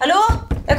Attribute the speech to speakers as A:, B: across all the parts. A: Hallo? Jeg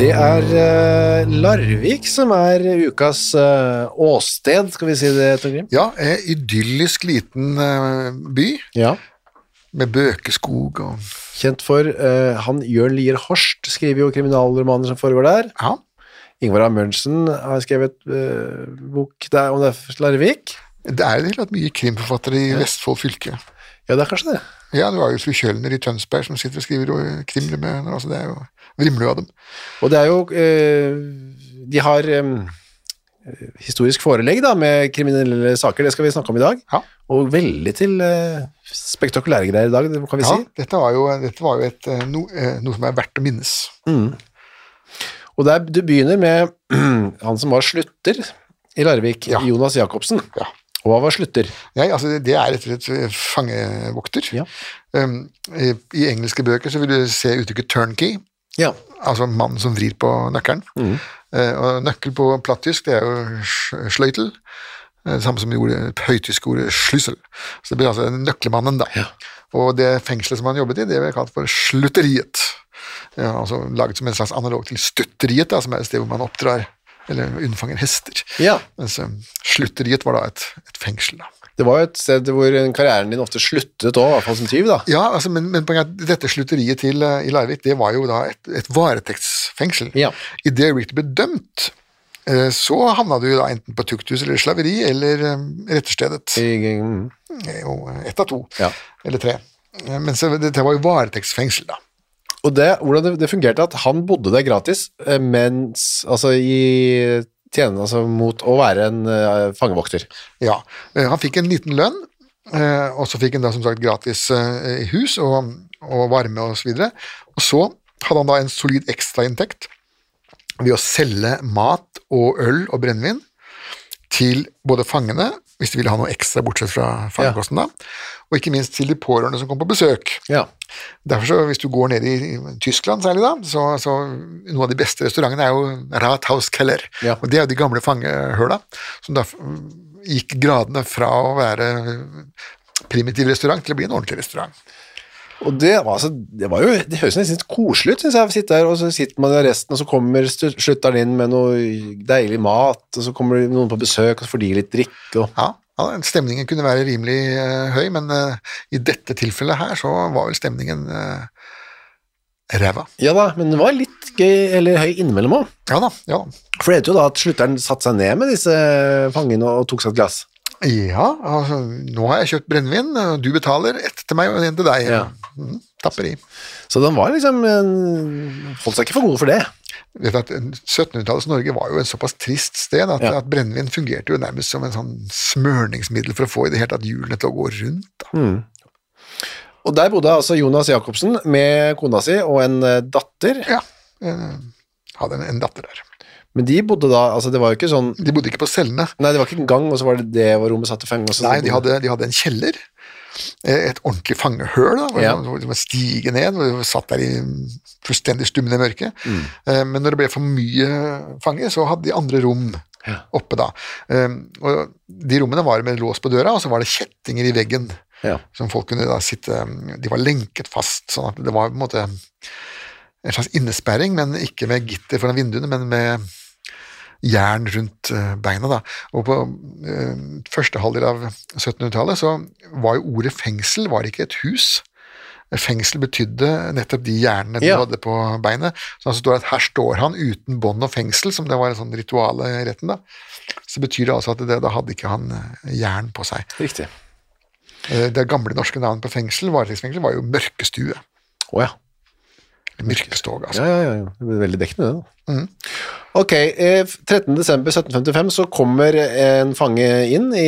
B: Det er eh, Larvik som er ukas eh, åsted, skal vi si det, Torgrim?
C: Ja, en idyllisk liten eh, by
B: Ja.
C: med bøkeskog og
B: Kjent for eh, han Jørn Lier Horst, skriver jo kriminalromaner som foregår der.
C: Ja.
B: Ingvar Amundsen har skrevet eh, bok der om det er Larvik.
C: Det er jo helt mye krimforfattere i Vestfold fylke.
B: Ja, det er kanskje det.
C: Ja, du har jo fru Kjølner i Tønsberg som sitter og skriver og krimler med henne. Altså, det er jo vrimler av dem.
B: Og det er jo eh, De har eh, historisk forelegg da, med kriminelle saker, det skal vi snakke om i dag.
C: Ja.
B: Og veldig til eh, spektakulære greier i dag, det kan vi
C: Ja,
B: si.
C: dette var jo, dette var jo et, eh, no, eh, noe som er verdt å minnes.
B: Og der, du begynner med han som var slutter i Larvik,
C: Ja.
B: Jonas Jacobsen.
C: Ja.
B: Og han var slutter.
C: Jeg, altså, det er rett og slett fangevokter.
B: Ja.
C: Um, i, I engelske bøker så vil du se uttrykket 'turnkey',
B: Ja.
C: altså mannen som vrir på nøkkelen. Eh, og nøkkel på plattysk, det er jo sj- sløytel. eh, Samme som i ordet, høytyske ordet slussel. Så det blir altså nøklemannen, da. Og det fengselet som han jobbet i, det ble kalt for slutteriet. Ja, altså laget som en slags analog til stutteriet, da, som er et sted hvor man oppdrar eller unnfanger hester.
B: Ja.
C: Mens eh, slutteriet var da et, et fengsel, da.
B: Det var jo et sted hvor karrieren din ofte sluttet òg, i hvert fall som tyv. da.
C: Ja, altså, men, men poenget er at dette slutteriet til, eh, i Larvik det var jo da et, et varetektsfengsel.
B: Ja.
C: I det øyeblikk du ble dømt, eh, så havna du jo da enten på tukthus eller slaveri eller eh, retterstedet.
B: I- mm.
C: Det er jo ett av to.
B: Ja.
C: Eller tre. Eh, Men så, dette var jo varetektsfengsel, da.
B: Og det, hvordan det, det fungerte, at han bodde der gratis, eh, mens Altså i tjene altså, mot å være en eh, fangevokter.
C: Ja. eh, Han fikk en liten lønn, eh, og så fikk han da som sagt gratis eh, hus og, og varme og så videre. Og så hadde han da en solid ekstrainntekt ved å selge mat og øl og brennevin til både fangene, hvis de ville ha noe ekstra bortsett fra fangekosten, da, og ikke minst til de pårørende som kom på besøk.
B: Ja.
C: Derfor så, Hvis du går ned i i Tyskland særlig, da, så, så noen av de beste restaurantene er jo Rathauskeller.
B: Ja.
C: Og det er jo de gamle fangehøla, som da mm, gikk gradene fra å være primitiv restaurant til å bli en ordentlig restaurant.
B: Og det var, altså, det var jo Det høres nesten litt koselig ut, syns jeg. å sitte der, og så sitter man i arresten, og så kommer stu- slutteren inn med noe deilig mat, og så kommer det noen på besøk, og så får de litt drikke og
C: Ja, ja, Stemningen kunne være rimelig eh, høy, men eh, i dette tilfellet her så var vel stemningen eh, ræva.
B: Ja da, men det var litt gøy, eller høy innimellom òg.
C: Ja da, ja da.
B: For det heter jo da at slutteren satte seg ned med disse fangene og tok seg et glass.
C: Ja, altså, nå har jeg kjøpt brennevin, og du betaler ett til meg og en til deg.
B: Ja.
C: Mm, tapper i.
B: Så den var liksom en- Holdt seg ikke for god for det.
C: Du vet at 1700-tallets Norge var jo en såpass trist sted at,
B: Ja.
C: at brennevin fungerte jo nærmest som en sånn smørningsmiddel for å få i det hele tatt hjulene til å gå rundt. Da.
B: Og der bodde altså Jonas Jacobsen med kona si og en eh, datter.
C: Ja, eh, hadde en, en datter der.
B: Men de bodde da Altså, det var jo ikke sånn
C: De bodde ikke på cellene.
B: Nei, det var ikke en gang, og så var det det var rommet satt til fem. og så-
C: Nei, de hadde, de hadde en kjeller eh, et ordentlig fangehøl, da, hvor
B: Ja.
C: man- hvor man stiger ned, hvor vi satt der i fullstendig stummende mørke.
B: Mm.
C: Eh, Men når det ble for mye fanger, så hadde de andre rom oppe da. Eh, Og de rommene var med lås på døra, og så var det kjettinger i veggen
B: Ja.
C: som folk kunne da sitte De var lenket fast, sånn at det var på en måte en slags innesperring, men ikke med gitter foran vinduene, men med jern rundt eh, beina. Da. Og på eh, første halvdel av 1700-tallet så var jo ordet fengsel var ikke et hus. Fengsel betydde nettopp de jernene
B: Ja.
C: du hadde på beinet. Så altså står det at her står han uten bånd og fengsel, som det var en sånn ritual i retten. da. Så betyr det altså at det, da hadde ikke han eh, jern på seg.
B: Riktig.
C: Eh, Det gamle norske navnet på fengsel, varetektsfengsel, var jo mørkestue.
B: Å ja.
C: Mørkestog, altså.
B: Ja, ja, ja, ja. Det blir veldig dekkende, det. da. Mm. Ok, eh, 13. desember 1755 så kommer en fange inn i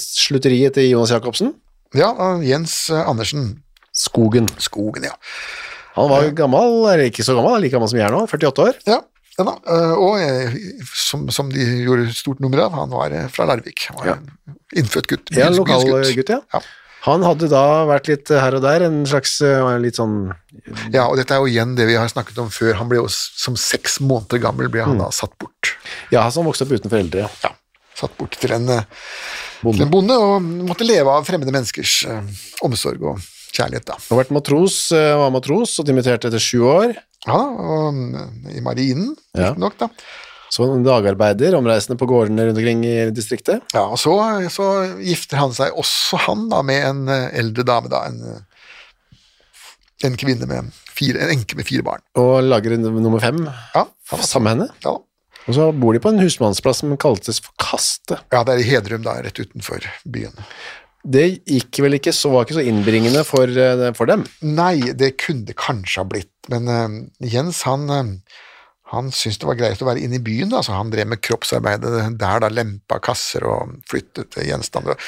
B: slutteriet til Jonas Jacobsen.
C: Ja, og Jens eh, Andersen.
B: Skogen.
C: Skogen, ja.
B: Han var jo gammel, eller ikke så gammel, han er like gammel som jeg er nå, 48 år.
C: Ja, ja da. eh, Og eh, som, som de gjorde et stort nummer av, han var eh, fra Larvik. Han var
B: Ja.
C: en innfødt gutt.
B: Ja, en
C: byens-
B: lokal
C: byens
B: eh, gutt, ja.
C: Ja.
B: Han hadde da vært litt eh, her og der, en slags eh, litt sånn
C: Ja, og dette er jo igjen det vi har snakket om før. Han ble jo s- som seks måneder gammel ble han da
B: Mm.
C: satt bort.
B: Ja, som vokste opp uten foreldre.
C: Ja, satt bort til en, eh,
B: Bonde.
C: til en bonde og måtte leve av fremmede menneskers eh, omsorg og kjærlighet, da.
B: Han har vært matros, eh, var matros og dimitterte etter sju år.
C: Ja, og mm, i marinen,
B: Ja.
C: riktignok, da.
B: Så var han dagarbeider, omreisende på gårdene rundt omkring i distriktet.
C: Ja, og så, så gifter han seg også han da med en eh, eldre dame, da. En, eh, en kvinne med fire, en enke med fire barn.
B: Og lager en nummer fem
C: Ja, ja,
B: sammen med henne.
C: ja.
B: Og så bor de på en husmannsplass som kaltes for Kaste.
C: ja det er i Hedrum, da, rett utenfor byen.
B: Det gikk vel ikke så, var ikke så innbringende for, eh, for dem.
C: Nei, det kunne det kanskje ha blitt, men eh, Jens han, eh, han syntes det var greit å være inne i byen, da, så han drev med kroppsarbeidet der, da, lempa kasser og flyttet gjenstander.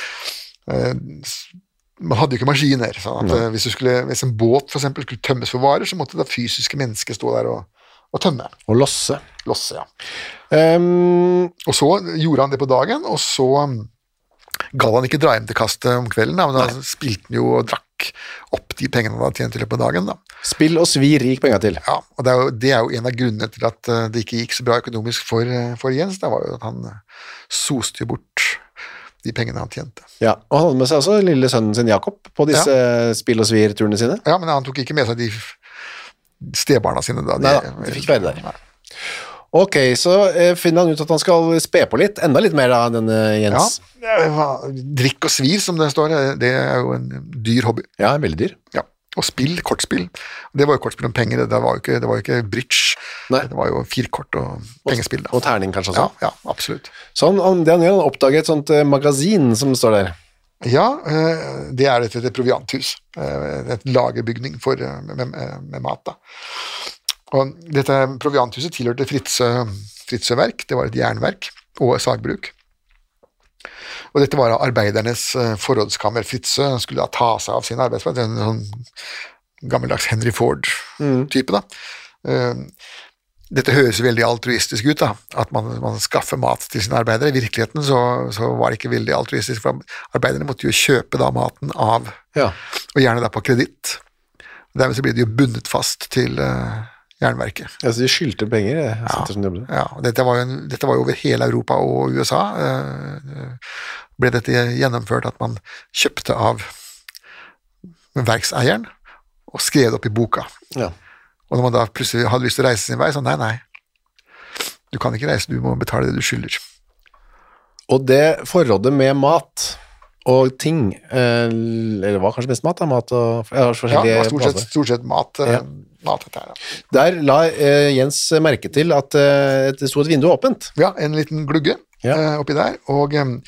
C: Eh, s- Man hadde jo ikke maskiner, sånn at eh, hvis, du skulle, hvis en båt for eksempel skulle tømmes for varer, så måtte det fysiske mennesket stå der og, og tømme,
B: Å losse.
C: losse, ja.
B: Ehm,
C: Og så gjorde han det på dagen, og så um, gadd han ikke dra hjem til kastet om kvelden, da, men da spilte han jo og drakk opp de pengene han hadde tjent i løpet av dagen, da.
B: spill og svir gikk penga til.
C: Ja, og det er, jo, det er jo en av grunnene til at eh, det ikke gikk så bra økonomisk for, eh, for Jens. Det var jo at han eh, soste jo bort de pengene han tjente.
B: Ja, og han hadde med seg også lille sønnen sin Jakob på disse spill og svir-turene sine.
C: Ja, men han tok ikke med seg de f- stebarna sine da.
B: Nei da, de fikk være der. Ok, så eh, finner han ut at han skal spe på litt, enda litt mer da, denne
C: Ja,
B: Jens.
C: eh, hva- drikk og svir, som det står, eh, det er jo en dyr hobby.
B: Ja, veldig dyr.
C: Ja. Og spill, kortspill. Det var jo kortspill om penger, det var jo ikke, det var jo ikke bridge.
B: Nei.
C: Det var jo firkort og pengespill da.
B: Og sånn. terning kanskje også.
C: Ja, ja, absolutt.
B: Så han, han, det han gjør, han oppdager et sånt eh, magasin som står der.
C: Ja, eh, det er et, et provianthus. eh, Et lagerbygning for, eh, med, med, med mat. Da. Og dette provianthuset tilhørte Fritzøe Fritzøe Verk. Det var et jernverk og et sagbruk. Og dette var arbeidernes eh, forrådskammer. Fritzøe skulle da ta seg av sin arbeidsplass. En sånn gammeldags Henry Ford-type, da. Eh, dette høres jo veldig altruistisk ut, da, at man, man skaffer mat til sine arbeidere. I virkeligheten så, så var det ikke veldig altruistisk, for arbeiderne måtte jo kjøpe da maten av,
B: Ja.
C: og gjerne da på kreditt. Dermed så ble de jo bundet fast til eh, jernverket.
B: Altså, de skyldte penger, eh, sitter som de jobbet.
C: Ja, og dette, var jo en, dette var jo over hele Europa og USA. eh, ble dette gjennomført at man kjøpte av verkseieren og skrev det opp i boka.
B: Ja.
C: Og når man da plutselig hadde lyst til å reise sin vei, så nei, nei. Du kan ikke reise, du må betale det du skylder.
B: Og det forrådet med mat og ting, eh, eller hva kanskje mest mat, da, mat og ja,
C: Ja, det
B: forskjellige
C: var stort sett,
B: plasser.
C: stort sett mat, eh,
B: Ja.
C: mat dette her. da.
B: Der la eh, Jens merke til at eh, det sto et vindu åpent.
C: Ja, en liten glugge
B: Ja.
C: eh, oppi der, og eh,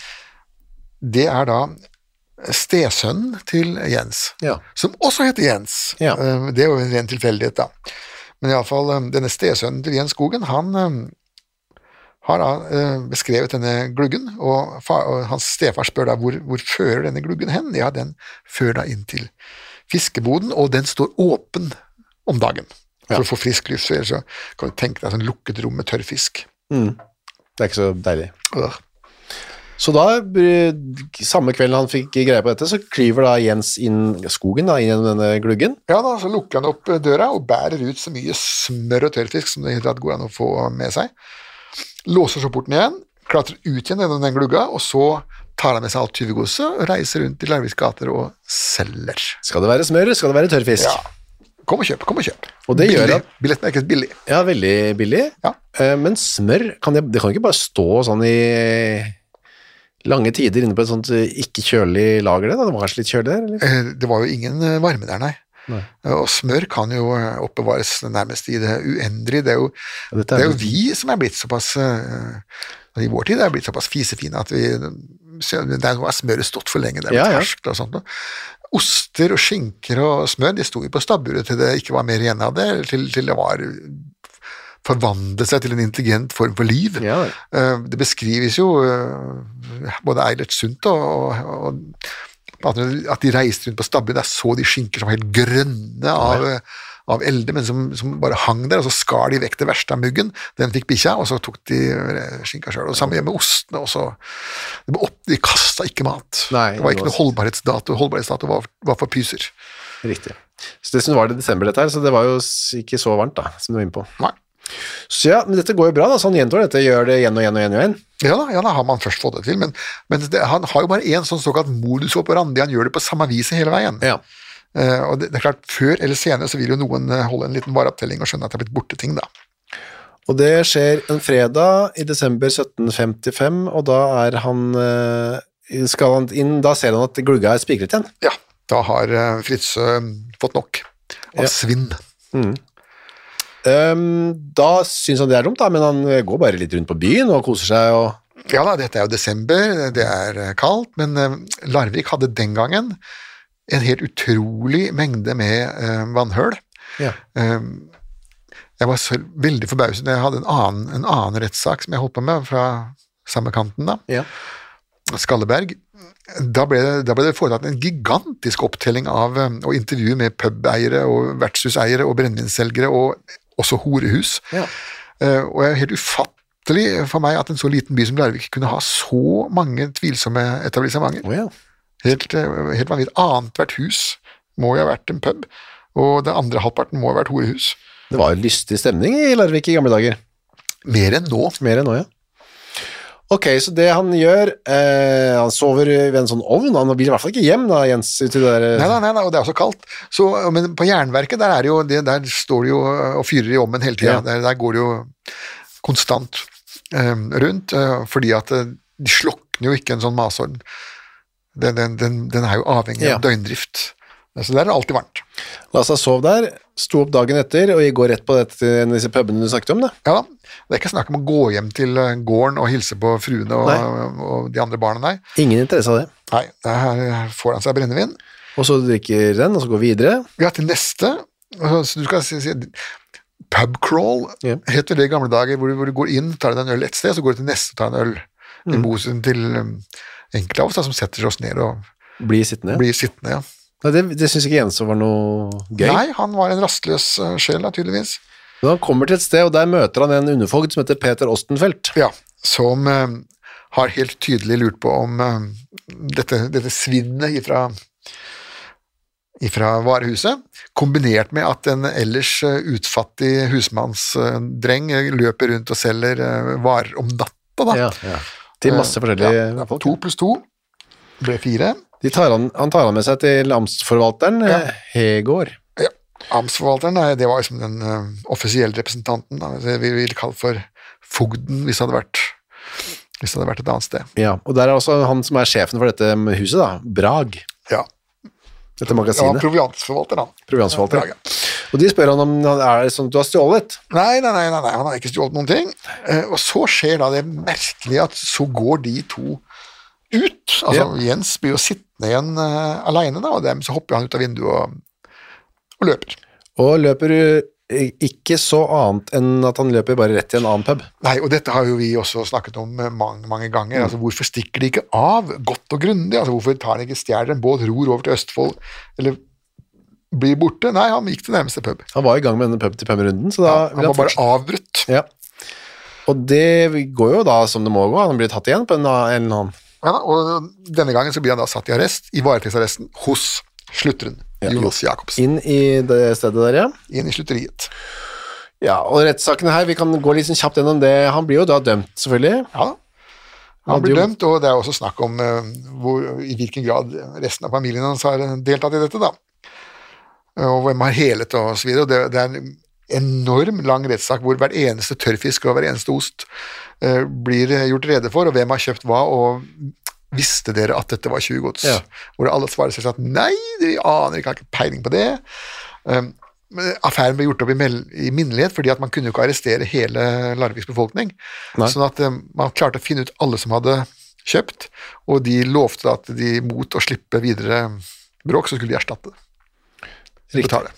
C: det er da eh, stesønnen til Jens,
B: Ja.
C: som også heter Jens.
B: Ja.
C: Eh, det er jo en ren tilfeldighet, da. Men iallfall, ehm, denne stesønnen til Jens Skogen, han eh, har da eh, beskrevet denne gluggen, og, fa- og hans stefar spør da hvor, hvor fører denne gluggen hen? Ja, den fører da inn til fiskeboden, og den står åpen om dagen for å få frisk luft. så Ellers så kan du tenke deg sånn lukket rom med tørr fisk.
B: Det er ikke så deilig.
C: Øh.
B: Så da, eh, samme kvelden han fikk greie på dette, så klyver da Jens inn skogen, da, inn gjennom denne gluggen.
C: Ja da, Så lukker han opp eh, døra og bærer ut så mye smør og tørrfisk som det i det hele tatt går an å få med seg. Låser så porten igjen, klatrer ut igjen gjennom den glugga, og så tar han med seg alt tyvegodset og reiser rundt i Larviks gater og selger.
B: Skal det være smør, skal det være tørrfisk?
C: Ja. Kom og kjøp, kom og kjøp.
B: Og det gjør
C: billig.
B: at-
C: Billettmerket billig.
B: Ja, veldig billig.
C: Ja.
B: Eh, Men smør, kan det, det kan jo ikke bare stå sånn i lange tider inne på et sånt eh, ikke kjølig lager det, da? Det var kanskje litt kjølig der, eller?
C: Eh, Det var jo ingen eh, varme der, nei. Eh, Og smør kan jo eh, oppbevares nærmest i det uendelige. Det er jo,
B: Ja, dette
C: Eh,
B: er
C: det er
B: jo-
C: jo vi som er blitt såpass eh, I vår tid er blitt såpass fisefine at vi så det er noe av smøret stått for lenge. Det er
B: Ja,
C: blitt
B: ja.
C: herskt og sånt. noe. Oster og skinker og smør de sto jo på stabburet til det ikke var mer igjen av det, eller til, til det var forvandlet seg til en intelligent form for liv.
B: Ja, vel.
C: Eh, Det beskrives jo eh, både Eilert Sundt og, og, og at at de reiste rundt på stabben, der så de skinker som var helt grønne av, eh, av elde, men som, som bare hang der, og så skar de vekk det verste av muggen. Den fikk bikkja, og så tok de eh, skinka sjøl. Samme gjør med ostene også. De, ble opp- de kasta ikke mat.
B: Nei,
C: det var ikke
B: det
C: noe holdbarhetsdato. Holdbarhetsdato var, var for pyser.
B: Riktig. Så dessuten var det i desember dette her, så det var jo s- ikke så varmt da, som du var inne på.
C: Nei.
B: Så ja, men dette går jo bra da, så han gjentar dette, gjør det igjen og igjen og igjen og igjen.
C: Ja da, ja da har man først fått det til, men, men det, han har jo bare én sånn såkalt modus operandi. Han gjør det på samme viset hele veien.
B: Ja.
C: Eh, og det, det er klart, Før eller senere så vil jo noen eh, holde en liten vareopptelling og skjønne at det er blitt borte ting. da.
B: Og det skjer en fredag i desember 1755, og da er han eh, skal han inn, da ser han at glugga er spikret igjen.
C: Ja, Da har eh, Fritzøe mm, fått nok av svinn.
B: Ehm, da syns han det er dumt, da, men han eh, går bare litt rundt på byen og koser seg og
C: Ja da, dette er jo desember, det er eh, kaldt, men eh, Larvik hadde den gangen en helt utrolig mengde med eh, vannhøl.
B: ja.
C: Ehm, Jeg var så veldig forbauset når jeg hadde en annen, en annen rettssak som jeg holdt på med fra samme kanten, da, Skalleberg. Da ble, det, da ble det foretatt en gigantisk opptelling av eh, og intervju med pubeiere og vertshuseiere og brennevinsselgere og også horehus.
B: Ja.
C: Eh, Og det er helt ufattelig for meg at en så liten by som Larvik kunne ha så mange tvilsomme etablissementer.
B: Å ja.
C: Helt, eh, helt vanvittig. Annethvert hus må jo ha vært en pub, og den andre halvparten må ha vært horehus.
B: Det var jo lystig stemning i Larvik i gamle dager.
C: Mer enn nå.
B: Mer enn nå, ja. Ok, så det han gjør eh, Han sover ved en sånn ovn. Han vil i hvert fall ikke hjem, da, Jens. Ut i det der, eh,
C: Nei, nei, nei, nei, og det er også kaldt. Så, men på Jernverket, der, er det jo, det, der står det jo og fyrer i ovnen hele tida.
B: Ja.
C: Der, der går det jo konstant eh, rundt, eh, fordi at eh, de slukner jo ikke en sånn masorm. Den, den, den, den er jo avhengig
B: Ja.
C: av døgndrift. Så der er det alltid varmt.
B: La seg sove der. Sto opp dagen etter og går rett på dette, en av disse pubene du snakket om. Da.
C: Ja da. Det er ikke snakk om å gå hjem til eh, gården og hilse på fruene og,
B: Nei.
C: og de andre barna, nei.
B: Ingen interesse av det.
C: Nei, der får han seg brennevin.
B: Og så drikker den, og så går videre.
C: Ja, til neste altså, så Du skal si, si pubcrawl,
B: Ja.
C: het vel det i gamle dager, hvor du, hvor du går inn, tar deg en øl et sted, så går du til neste og tar en øl.
B: Mm.
C: I motsetning til um, enkelte av oss da, som setter oss ned og
B: Blir sittende.
C: blir sittende. Ja.
B: Nei, det det syns ikke Jens var noe gøy.
C: Nei, han var en rastløs uh, sjel, da, tydeligvis.
B: Men han kommer til et sted, og der møter han en underfogd som heter Peter Ostenfeldt.
C: Ja, som um, har helt tydelig lurt på om um, dette, dette svinnet ifra ifra varehuset, kombinert med at en ellers eh, utfattig husmannsdreng eh, løper rundt og selger eh, varer om natta, da.
B: Ja, ja. Til masse forskjellige
C: Ja,
B: folk.
C: To pluss to ble fire.
B: De tar han, han tar han med seg til amtsforvalteren, eh, Hegård.
C: Amtsforvalteren, nei, det var liksom den eh, offisielle representanten, da. Det vi ville kalt for fogden, hvis det hadde vært hvis det hadde vært et annet sted.
B: Ja, og der er også han som er sjefen for dette huset, da. Brag.
C: Ja,
B: Dette
C: det var
B: magasinet.
C: proviansforvalter, han.
B: Proviansforvalter.
C: Ja,
B: Og de spør han om han er det sånn at du har stjålet.
C: Nei, nei, nei, nei, nei, han har ikke stjålet noen ting. Eh, og så skjer da det merkelige at så går de to ut. Altså, Jens blir jo sittende igjen eh, alene, da, og dem, så hopper han ut av vinduet og, og løper.
B: Og løper eh, ikke så annet enn at han løper bare rett til en annen pub.
C: Nei, og dette har jo vi også snakket om eh, mange, mange ganger. Altså, hvorfor stikker de ikke av godt og grundig? Altså, hvorfor tar de ikke stjeler en båt, ror over til Østfold, eller blir borte? Nei, han gikk til nærmeste pub.
B: Han var i gang med denne pub til pub-runden, så da
C: Han var bare avbrutt.
B: Ja. Og det går jo da som det må gå. Han blir tatt igjen på en en eller annen
C: Ja, da, og denne gangen så blir han da satt i arrest, i varetektsarresten, hos slutteren, Jonas Jacobsen,
B: Inn i det stedet der, ja.
C: inn i slutteriet.
B: Ja, og rettssakene her, vi kan gå litt sånn kjapt gjennom det. Han blir jo da dømt, selvfølgelig.
C: Ja da.
B: Han
C: Han blir
B: hadde jo-
C: dømt, og det er også snakk om eh, hvor, i hvilken grad resten av familien hans har eh, deltatt i dette, da. Eh, Og hvem har helet og så videre. Og det, det er en enorm lang rettssak hvor hver eneste tørrfisk og hver eneste ost eh, blir gjort rede for, og hvem har kjøpt hva, og visste dere at dette var tjuvgods?
B: Ja.
C: Hvor alle svarer selvsagt nei, de aner ikke, har ikke peiling på det. Um, men affæren ble gjort opp i, mel- i minnelighet fordi at man kunne jo ikke arrestere hele Larviks befolkning. Sånn at um, man klarte å finne ut alle som hadde kjøpt, og de lovte da at de mot å slippe videre bråk, så skulle de erstatte det.
B: Riktig.
C: Betale.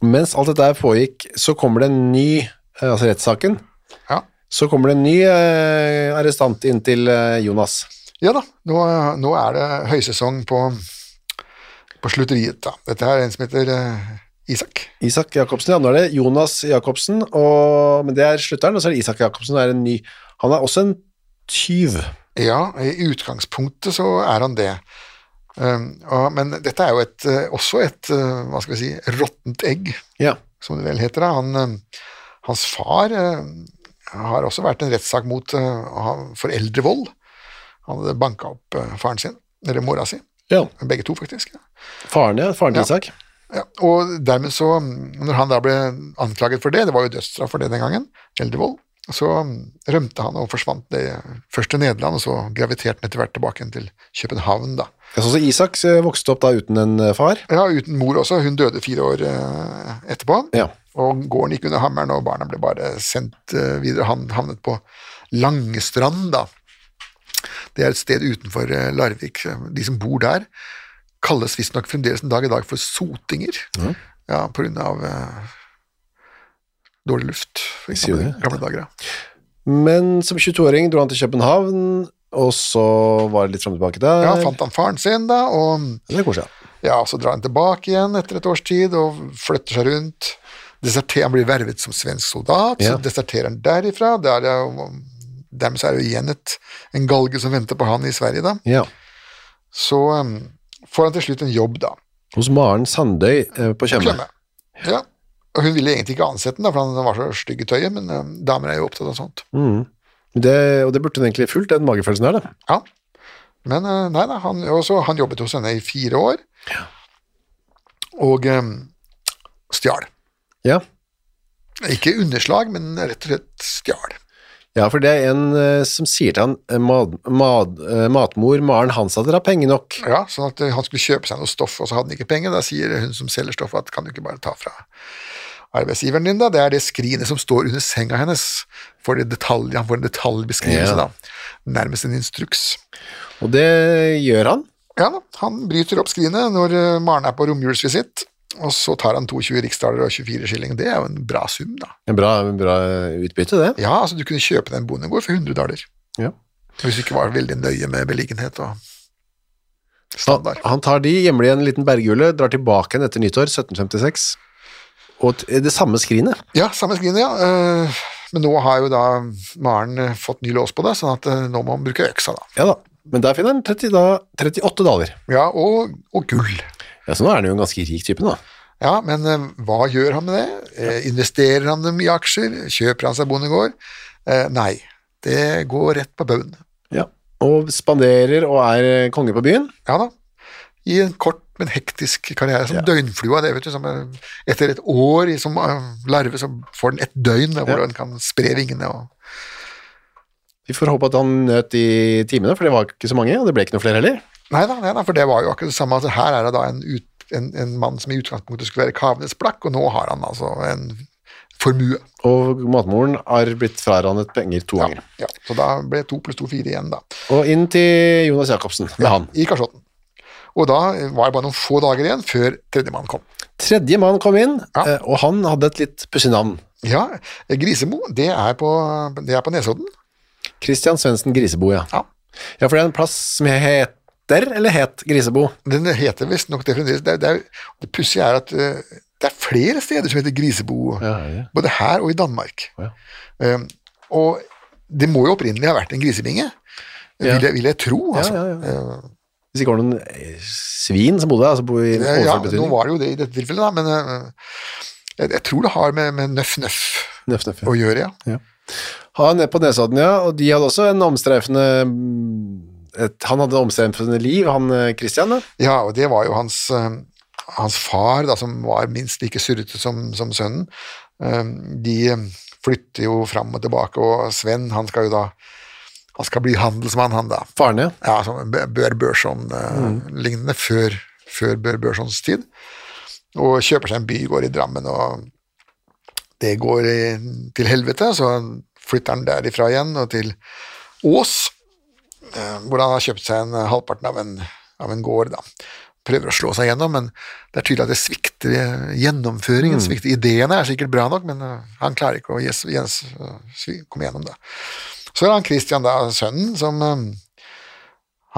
B: Mens alt dette her pågikk, så kommer det en ny, eh, altså rettssaken,
C: Ja.
B: så kommer det en ny eh, arrestant inn til eh, Jonas.
C: ja da, nå, nå er det høysesong på, på slutteriet. Da. Dette her er en som heter eh, Isak.
B: Isak Jacobsen, ja, nå er det Jonas Jacobsen, og, men det er slutteren, og så er det Isak Jacobsen, det er en ny. Han er også en tyv.
C: Ja, i utgangspunktet så er han det. Um, og, men dette er jo et, eh, også et eh, hva skal vi si, råttent egg,
B: Ja.
C: som det vel heter. da. Han, eh, hans far eh, har også vært en rettssak mot eh, ha- foreldrevold. Han hadde banka opp eh, faren sin, eller mora si.
B: ja.
C: Begge to, faktisk.
B: Faren, ja, faren til
C: Ja.
B: Isak.
C: Ja, og dermed så, mm, når han da ble anklaget for det, det var jo dødsstraff for det den gangen, eldrevold, så mm, rømte han og forsvant det først til Nederland, og så graviterte han etter hvert tilbake igjen til København, da.
B: Jeg så også Isak eh, vokste opp da uten en eh, far.
C: Ja, uten mor også, hun døde fire år eh, etterpå,
B: Ja.
C: og gården gikk under hammeren, og barna ble bare sendt eh, videre. Han havnet på Langestrand, da. Det er et sted utenfor eh, Larvik. De som bor der, kalles visstnok fremdeles en dag i dag for sotinger. Ja, på grunn av eh, dårlig luft, for
B: Sier du
C: eksempel. i Gamle dager, ja.
B: Men som 22-åring dro han til København, og så var det litt frem og tilbake der.
C: ja. Fant han faren sin, da, og
B: Det er koselig, ja.
C: ja, så drar han tilbake igjen etter et års tid og flytter seg rundt. Deserter, han blir vervet som svensk soldat,
B: Ja.
C: så deserterer han derifra. Der er, jo- dermed så er det jo igjen et, en galge som venter på han i Sverige, da.
B: Ja.
C: Så um, får han til slutt en jobb, da.
B: Hos Maren Sandøy eh, på Tjøme.
C: Klemme. Ja. Og hun ville egentlig ikke ansette den, da, for han var så stygg i tøyet, men um, damer er jo opptatt av sånt.
B: Det, og det burde hun egentlig fulgt, den magefølelsen her, da.
C: Ja. Men eh, nei da, han, og så- han jobbet hos henne i fire år, og em, stjal.
B: Ja.
C: Ikke underslag, men rett og slett stjal.
B: ja, for det er en eh, som sier til han eh, mad, mad, eh, matmor Maren Hansdatter har penger nok.
C: Ja, sånn at eh, han skulle kjøpe seg noe stoff, og så hadde han ikke penger. Da sier hun som selger stoffet at kan du ikke bare ta fra arbeidsgiveren din, da? Det er det skrinet som står under senga hennes. For det detalj, han får en detaljbeskrivelse,
B: Ja.
C: da. Nærmest en instruks.
B: Og det gjør han.
C: Ja da, han bryter opp skrinet når eh, Maren er på romjulsvisitt, og så tar han 22 riksdaler og 24 skilling. Det er jo en bra sum, da.
B: En bra, en bra eh, utbytte, det.
C: Ja, altså du kunne kjøpe deg en bondegård for 100 daler.
B: Ja.
C: Hvis du ikke var veldig nøye med beliggenhet og
B: Han,
C: standard.
B: han tar de hjemlig i en liten berghule, drar tilbake igjen etter nyttår, 1756. Og t det samme skrinet.
C: Ja, samme skrinet, ja. Eh, Men nå har jo da Maren eh, fått ny lås på det, sånn at eh, nå må man bruke øksa, da.
B: Ja da. Men der finner han 30, da, 38 daler.
C: Ja, og, og gull.
B: Ja, Så nå er han jo en ganske rik type, da.
C: Ja, men eh, hva gjør han med det? Eh, Investerer han dem i aksjer? Kjøper han seg bondegård? Eh, Nei, det går rett på baugen.
B: Ja. Og spanderer og er eh, konge på byen.
C: Ja da. I en kort, men hektisk karriere, som
B: Ja.
C: døgnflua. det vet du, som eh, Etter et år i- som eh, larve, så får den et døgn da, hvor
B: Ja.
C: den kan spre vingene. og
B: Vi får håpe at han nøt de timene, for det var ikke så mange, og det ble ikke noe flere heller.
C: Nei da, nei da, for det var jo akkurat det samme. Altså, her er det da en, ut, en, en mann som i utgangspunktet skulle være Kavenes blakk, og nå har han altså en formue.
B: Og matmoren har blitt frarannet penger to ganger.
C: Ja, så da ble to pluss to fire igjen, da,
B: Og inn til Jonas Jacobsen med han.
C: i kasjotten. Og da var det bare noen få dager igjen før tredjemann kom.
B: Tredje mann kom inn,
C: Ja.
B: eh, og han hadde et litt pussig navn.
C: Ja, Grisemo, det er på, det er på Nesodden.
B: Christian Svendsen Grisebo, ja.
C: Ja.
B: Ja, for det er en plass som heter, eller het, Grisebo.
C: Den heter visstnok det fremdeles. Det, er- det, er- det pussige er at eh, det er flere steder som heter Grisebo,
B: ja.
C: både her og i Danmark.
B: Å,
C: Ehm, Eh, og det må jo opprinnelig ha vært en grisebinge, vil, jeg, vil jeg tro. Altså.
B: ja, Hvis ikke var det noen eh, svin som bodde der, altså bo i
C: Eh,
B: overført
C: Ja, nå
B: betydning.
C: var det jo det i dette tilfellet, da, men eh, jeg, jeg tror det har med, med nøff-nøff
B: Nøff, nøff, ja.
C: å gjøre, ja.
B: Han ned på Nesodden, ja, og de hadde også en omstreifende mm, et, Han hadde omstreifende liv, han eh, Christian, da.
C: Ja, og det var jo hans, eh, hans far, da, som var minst like surrete som, som sønnen. Eh, De flytter jo fram og tilbake, og Sven han skal jo da han skal bli handelsmann, han da.
B: Faren, ja.
C: Ja, som Bø- Bør Børson-lignende, før, før Bør Børsons tid. Og kjøper seg en bygård i Drammen, og det går i, til helvete, så flytter han derifra igjen og til Ås, eh, hvor han har kjøpt seg en eh, halvparten av en, av en gård. da. Prøver å slå seg gjennom, men det er tydelig at det svikter i gjennomføringen. svikter Ideene er sikkert bra nok, men eh, han klarer ikke å gjes- gjes- svi- komme gjennom det. Så er han Christian, da, sønnen, som eh,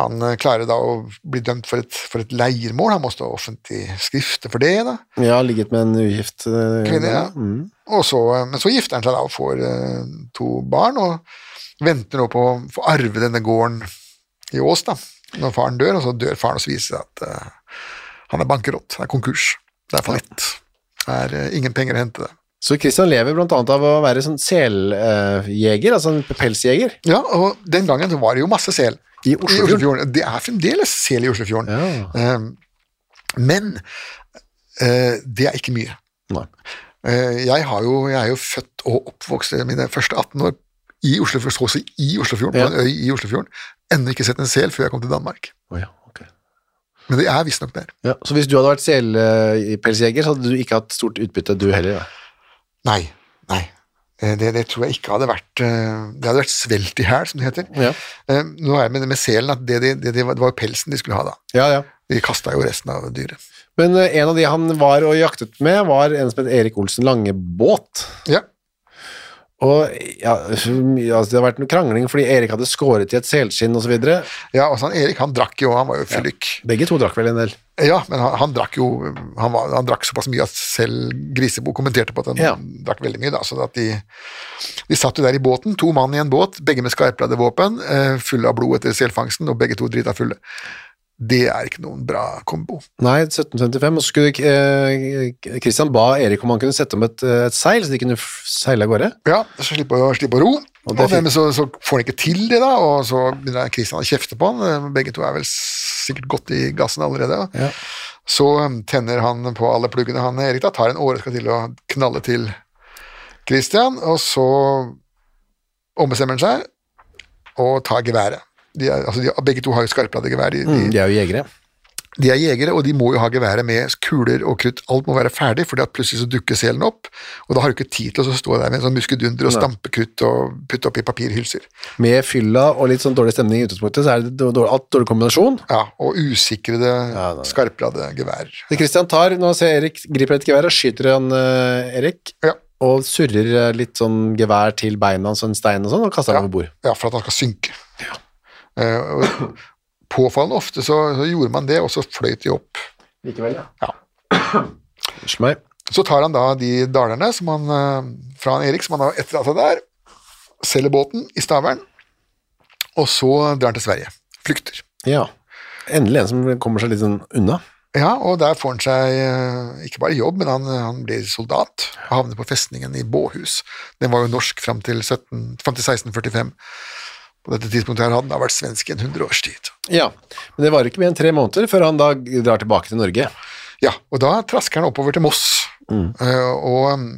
C: han eh, klarer da å bli dømt for et, for et leiermål, han må stå offentlig skrifte for det. da.
B: Ja, ligget med en ugift eh,
C: Kvinne, ja.
B: Mm.
C: Og så, eh, men så gifter han seg da og får eh, to barn, og venter nå på å få arve denne gården i Ås da, når faren dør, og så dør faren og så viser det seg at eh, han er bankerott, han er konkurs, det er fallitt. Det er eh, ingen penger å hente det.
B: Så Christian lever blant annet av å være sånn seljeger, altså en pelsjeger.
C: Ja, og den gangen så var det jo masse sel
B: I Oslofjorden.
C: Det er fremdeles sel i Oslofjorden.
B: Ja.
C: Eh, Men eh, det er ikke mye.
B: Nei.
C: Eh, Jeg, har jo, jeg er jo født og oppvokst eh, mine første 18 år i Oslofjorden, så å si i Oslofjorden,
B: Ja.
C: på en øy i Oslofjorden. Ennå ikke sett en sel før jeg kom til Danmark.
B: Å ja, ok.
C: Men det er visstnok der.
B: Ja, så hvis du hadde vært selpelsjeger, så hadde du ikke hatt stort utbytte, du heller? Da.
C: Nei. nei. Eh, Det, det tror jeg ikke hadde vært eh, Det hadde vært svelt i hæl, som det heter.
B: Ja.
C: Eh, Nå er det med, med selen at det, det, det, det var det var jo pelsen de skulle ha da.
B: Ja, ja.
C: De kasta jo resten av dyret.
B: Men eh, en av de han var og jaktet med, var en som het Erik Olsen Langebåt.
C: Ja.
B: Og ja, så mye- altså, det har vært noe krangling fordi Erik hadde skåret i et selskinn osv.
C: Ja, altså han Erik han drakk jo, han var jo fyllik.
B: Begge to drakk vel en del.
C: Ja, men han, han drakk jo han, var, han drakk såpass mye at selv Grisebo kommenterte på at han
B: Ja.
C: drakk veldig mye. Da, så at de, de satt jo der i båten, to mann i en båt, begge med skarpladde våpen, eh, fulle av blod etter selfangsten, og begge to drita fulle. Det er ikke noen bra kombo.
B: Nei, 1755. Og så skulle eh, Christian ba Erik om han kunne sette om et, eh, et seil, så de kunne f- seile av gårde.
C: Ja, så slipper å, slipper å ro. Og
B: det er fint.
C: dermed så, så får han ikke til det, da, og så begynner Kristian å kjefte på han. Eh, Begge to er vel sikkert godt i gassen allerede.
B: Ja.
C: Så um, tenner han på alle pluggene han Erik da, tar en åre skal til å knalle til Kristian, og så ombestemmer han seg og tar geværet. De er, altså de, begge to har jo skarpladegevær. De, de,
B: Mm, De er jo jegere.
C: de er jegere, og de må jo ha geværet med kuler og krutt. Alt må være ferdig, for plutselig så dukker selen opp, og da har du ikke tid til å stå der med en sånn muskedunder og stampe krutt og putte opp i papirhylser.
B: Med fylla og litt sånn dårlig stemning i utgangspunktet, så er det dårlig, alt dårlig kombinasjon.
C: Ja, og usikrede,
B: Ja, da-
C: skarpladde geværer.
B: Så Christian tar, nå ser Erik, griper et gevær og skyter han eh, Erik,
C: Ja.
B: og surrer eh, litt sånn gevær til beina hans, en stein og sånn, og kaster han over bord.
C: Ja, for at han skal synke. Eh, og påfallende ofte så, så gjorde man det, og så fløyt de opp.
B: Likevel, ja.
C: Ja.
B: Unnskyld meg.
C: Så tar han da de dalerne som han, eh, fra han Erik som han har etterlatt seg der, selger båten i Stavern, og så drar han til Sverige. Flykter.
B: Ja. Endelig en som kommer seg litt sånn unna.
C: Ja, og der får han seg eh, ikke bare jobb, men han, han blir soldat og havner på festningen i Båhus. Den var jo norsk fram til, 17, fram til 1645. På dette tidspunktet her hadde den da vært svensk i en hundre års tid.
B: Ja, men det var ikke mer enn tre måneder før han da drar tilbake til Norge.
C: Ja, og da trasker han oppover til Moss, eh, og mm,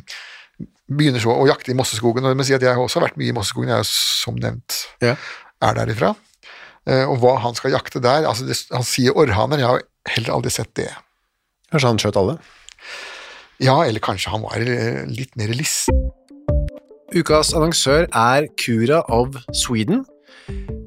C: begynner så å jakte i Mosseskogen. Og jeg må si at jeg har også vært mye i Mosseskogen, jeg er jo som nevnt
B: Ja.
C: er derifra. Eh, Og hva han skal jakte der altså det, Han sier orrhaner, jeg har heller aldri sett det.
B: Kanskje han skjøt alle.
C: Ja, eller kanskje han var eh, litt mer lissig.
B: Ukas annonsør er Cura of Sweden.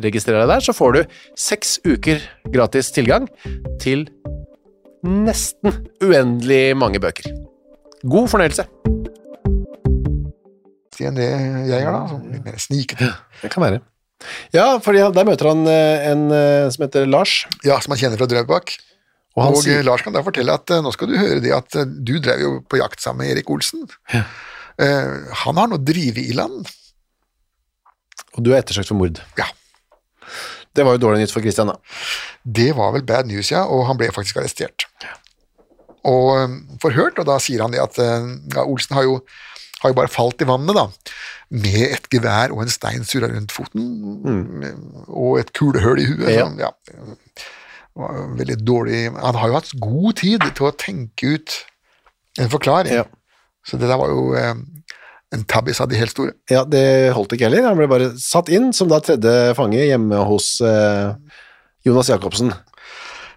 B: Registrer deg der, så får du seks uker gratis tilgang til nesten uendelig mange bøker. God fornøyelse.
C: Det enn det jeg gjør, da. Sånn litt mer snikete.
B: Det kan være. Ja, for der møter han eh, en eh, som heter Lars.
C: Ja, som man kjenner fra Drøbak.
B: Og han
C: Og eh,
B: sier
C: Lars kan da fortelle at eh, nå skal du høre det at eh, du drev jo på jakt sammen med Erik Olsen. Eh, han har nå drevet i land.
B: Og du er ettersøkt for mord.
C: Ja,
B: Det var jo dårlig nytt for Christian, da.
C: det var vel bad news, ja, og han ble faktisk arrestert. Og eh, forhørt, og da sier han det at eh, ja, Olsen har jo, har jo bare falt i vannet, da. Med et gevær og en stein surra rundt foten, og et kulehull i huet.
B: Mm. Ja.
C: sånn, ja. Det var jo Veldig dårlig Han har jo hatt god tid til å tenke ut en
B: Ja.
C: forklaring. Så det der var jo eh, en tabbis av de helt store.
B: Ja, det holdt ikke heller. Han ble bare satt inn som da tredje fange hjemme hos eh, Jonas Jacobsen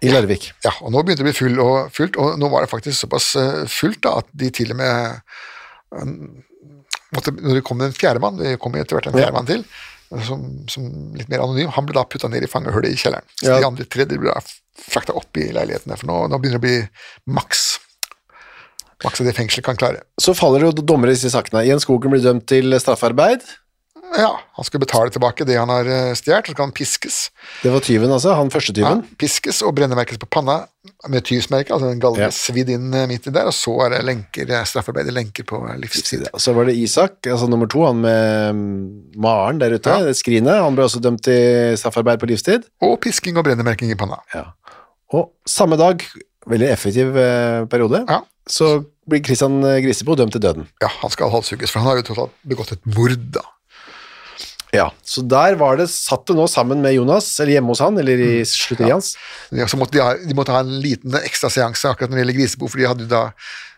B: i Larvik.
C: Ja, og nå begynte det å bli full og fullt, og nå var det faktisk såpass eh, fullt da, at de til og med eh, måtte, Når det kom en fjerdemann, det kom etter hvert en
B: Ja.
C: fjerdemann til, som, som litt mer anonym, han ble da putta ned i fangehullet i kjelleren. Så
B: Ja.
C: de andre tre de ble da frakta opp i leilighetene, for nå, nå begynner det å bli maks. Maks av det fengselet kan klare.
B: Så faller det jo dommere i disse sakene. Jens Skogen blir dømt til straffarbeid.
C: Ja, han skulle betale tilbake det han har eh, stjålet, så skal han piskes.
B: Det var tyven, altså. Han første
C: Ja,
B: tyven.
C: Sånn, piskes og brennemerkes på panna med tyvsmerke, altså en galge
B: Ja.
C: svidd inn eh, midt i der, og så er det lenker, eh, straffarbeidet lenker på eh, livstid.
B: Så var det Isak, altså nummer to, han med mm, Maren der ute,
C: Ja.
B: det skrinet. Han ble også dømt til straffarbeid på livstid.
C: Og pisking og brennemerking i panna.
B: Og samme dag, veldig effektiv eh, periode,
C: Ja.
B: så blir Christian eh, Grisebo dømt til døden.
C: Ja, han skal halshugges, for han har jo tross alt begått et mord, da.
B: Ja. Så der var det, satt det nå sammen med Jonas, eller hjemme hos han, eller i slutteriet hans.
C: Mm. Ja, så måtte de, ha, de måtte ha en liten ekstra seanse akkurat når det gjelder Grisebo, for de, hadde jo da,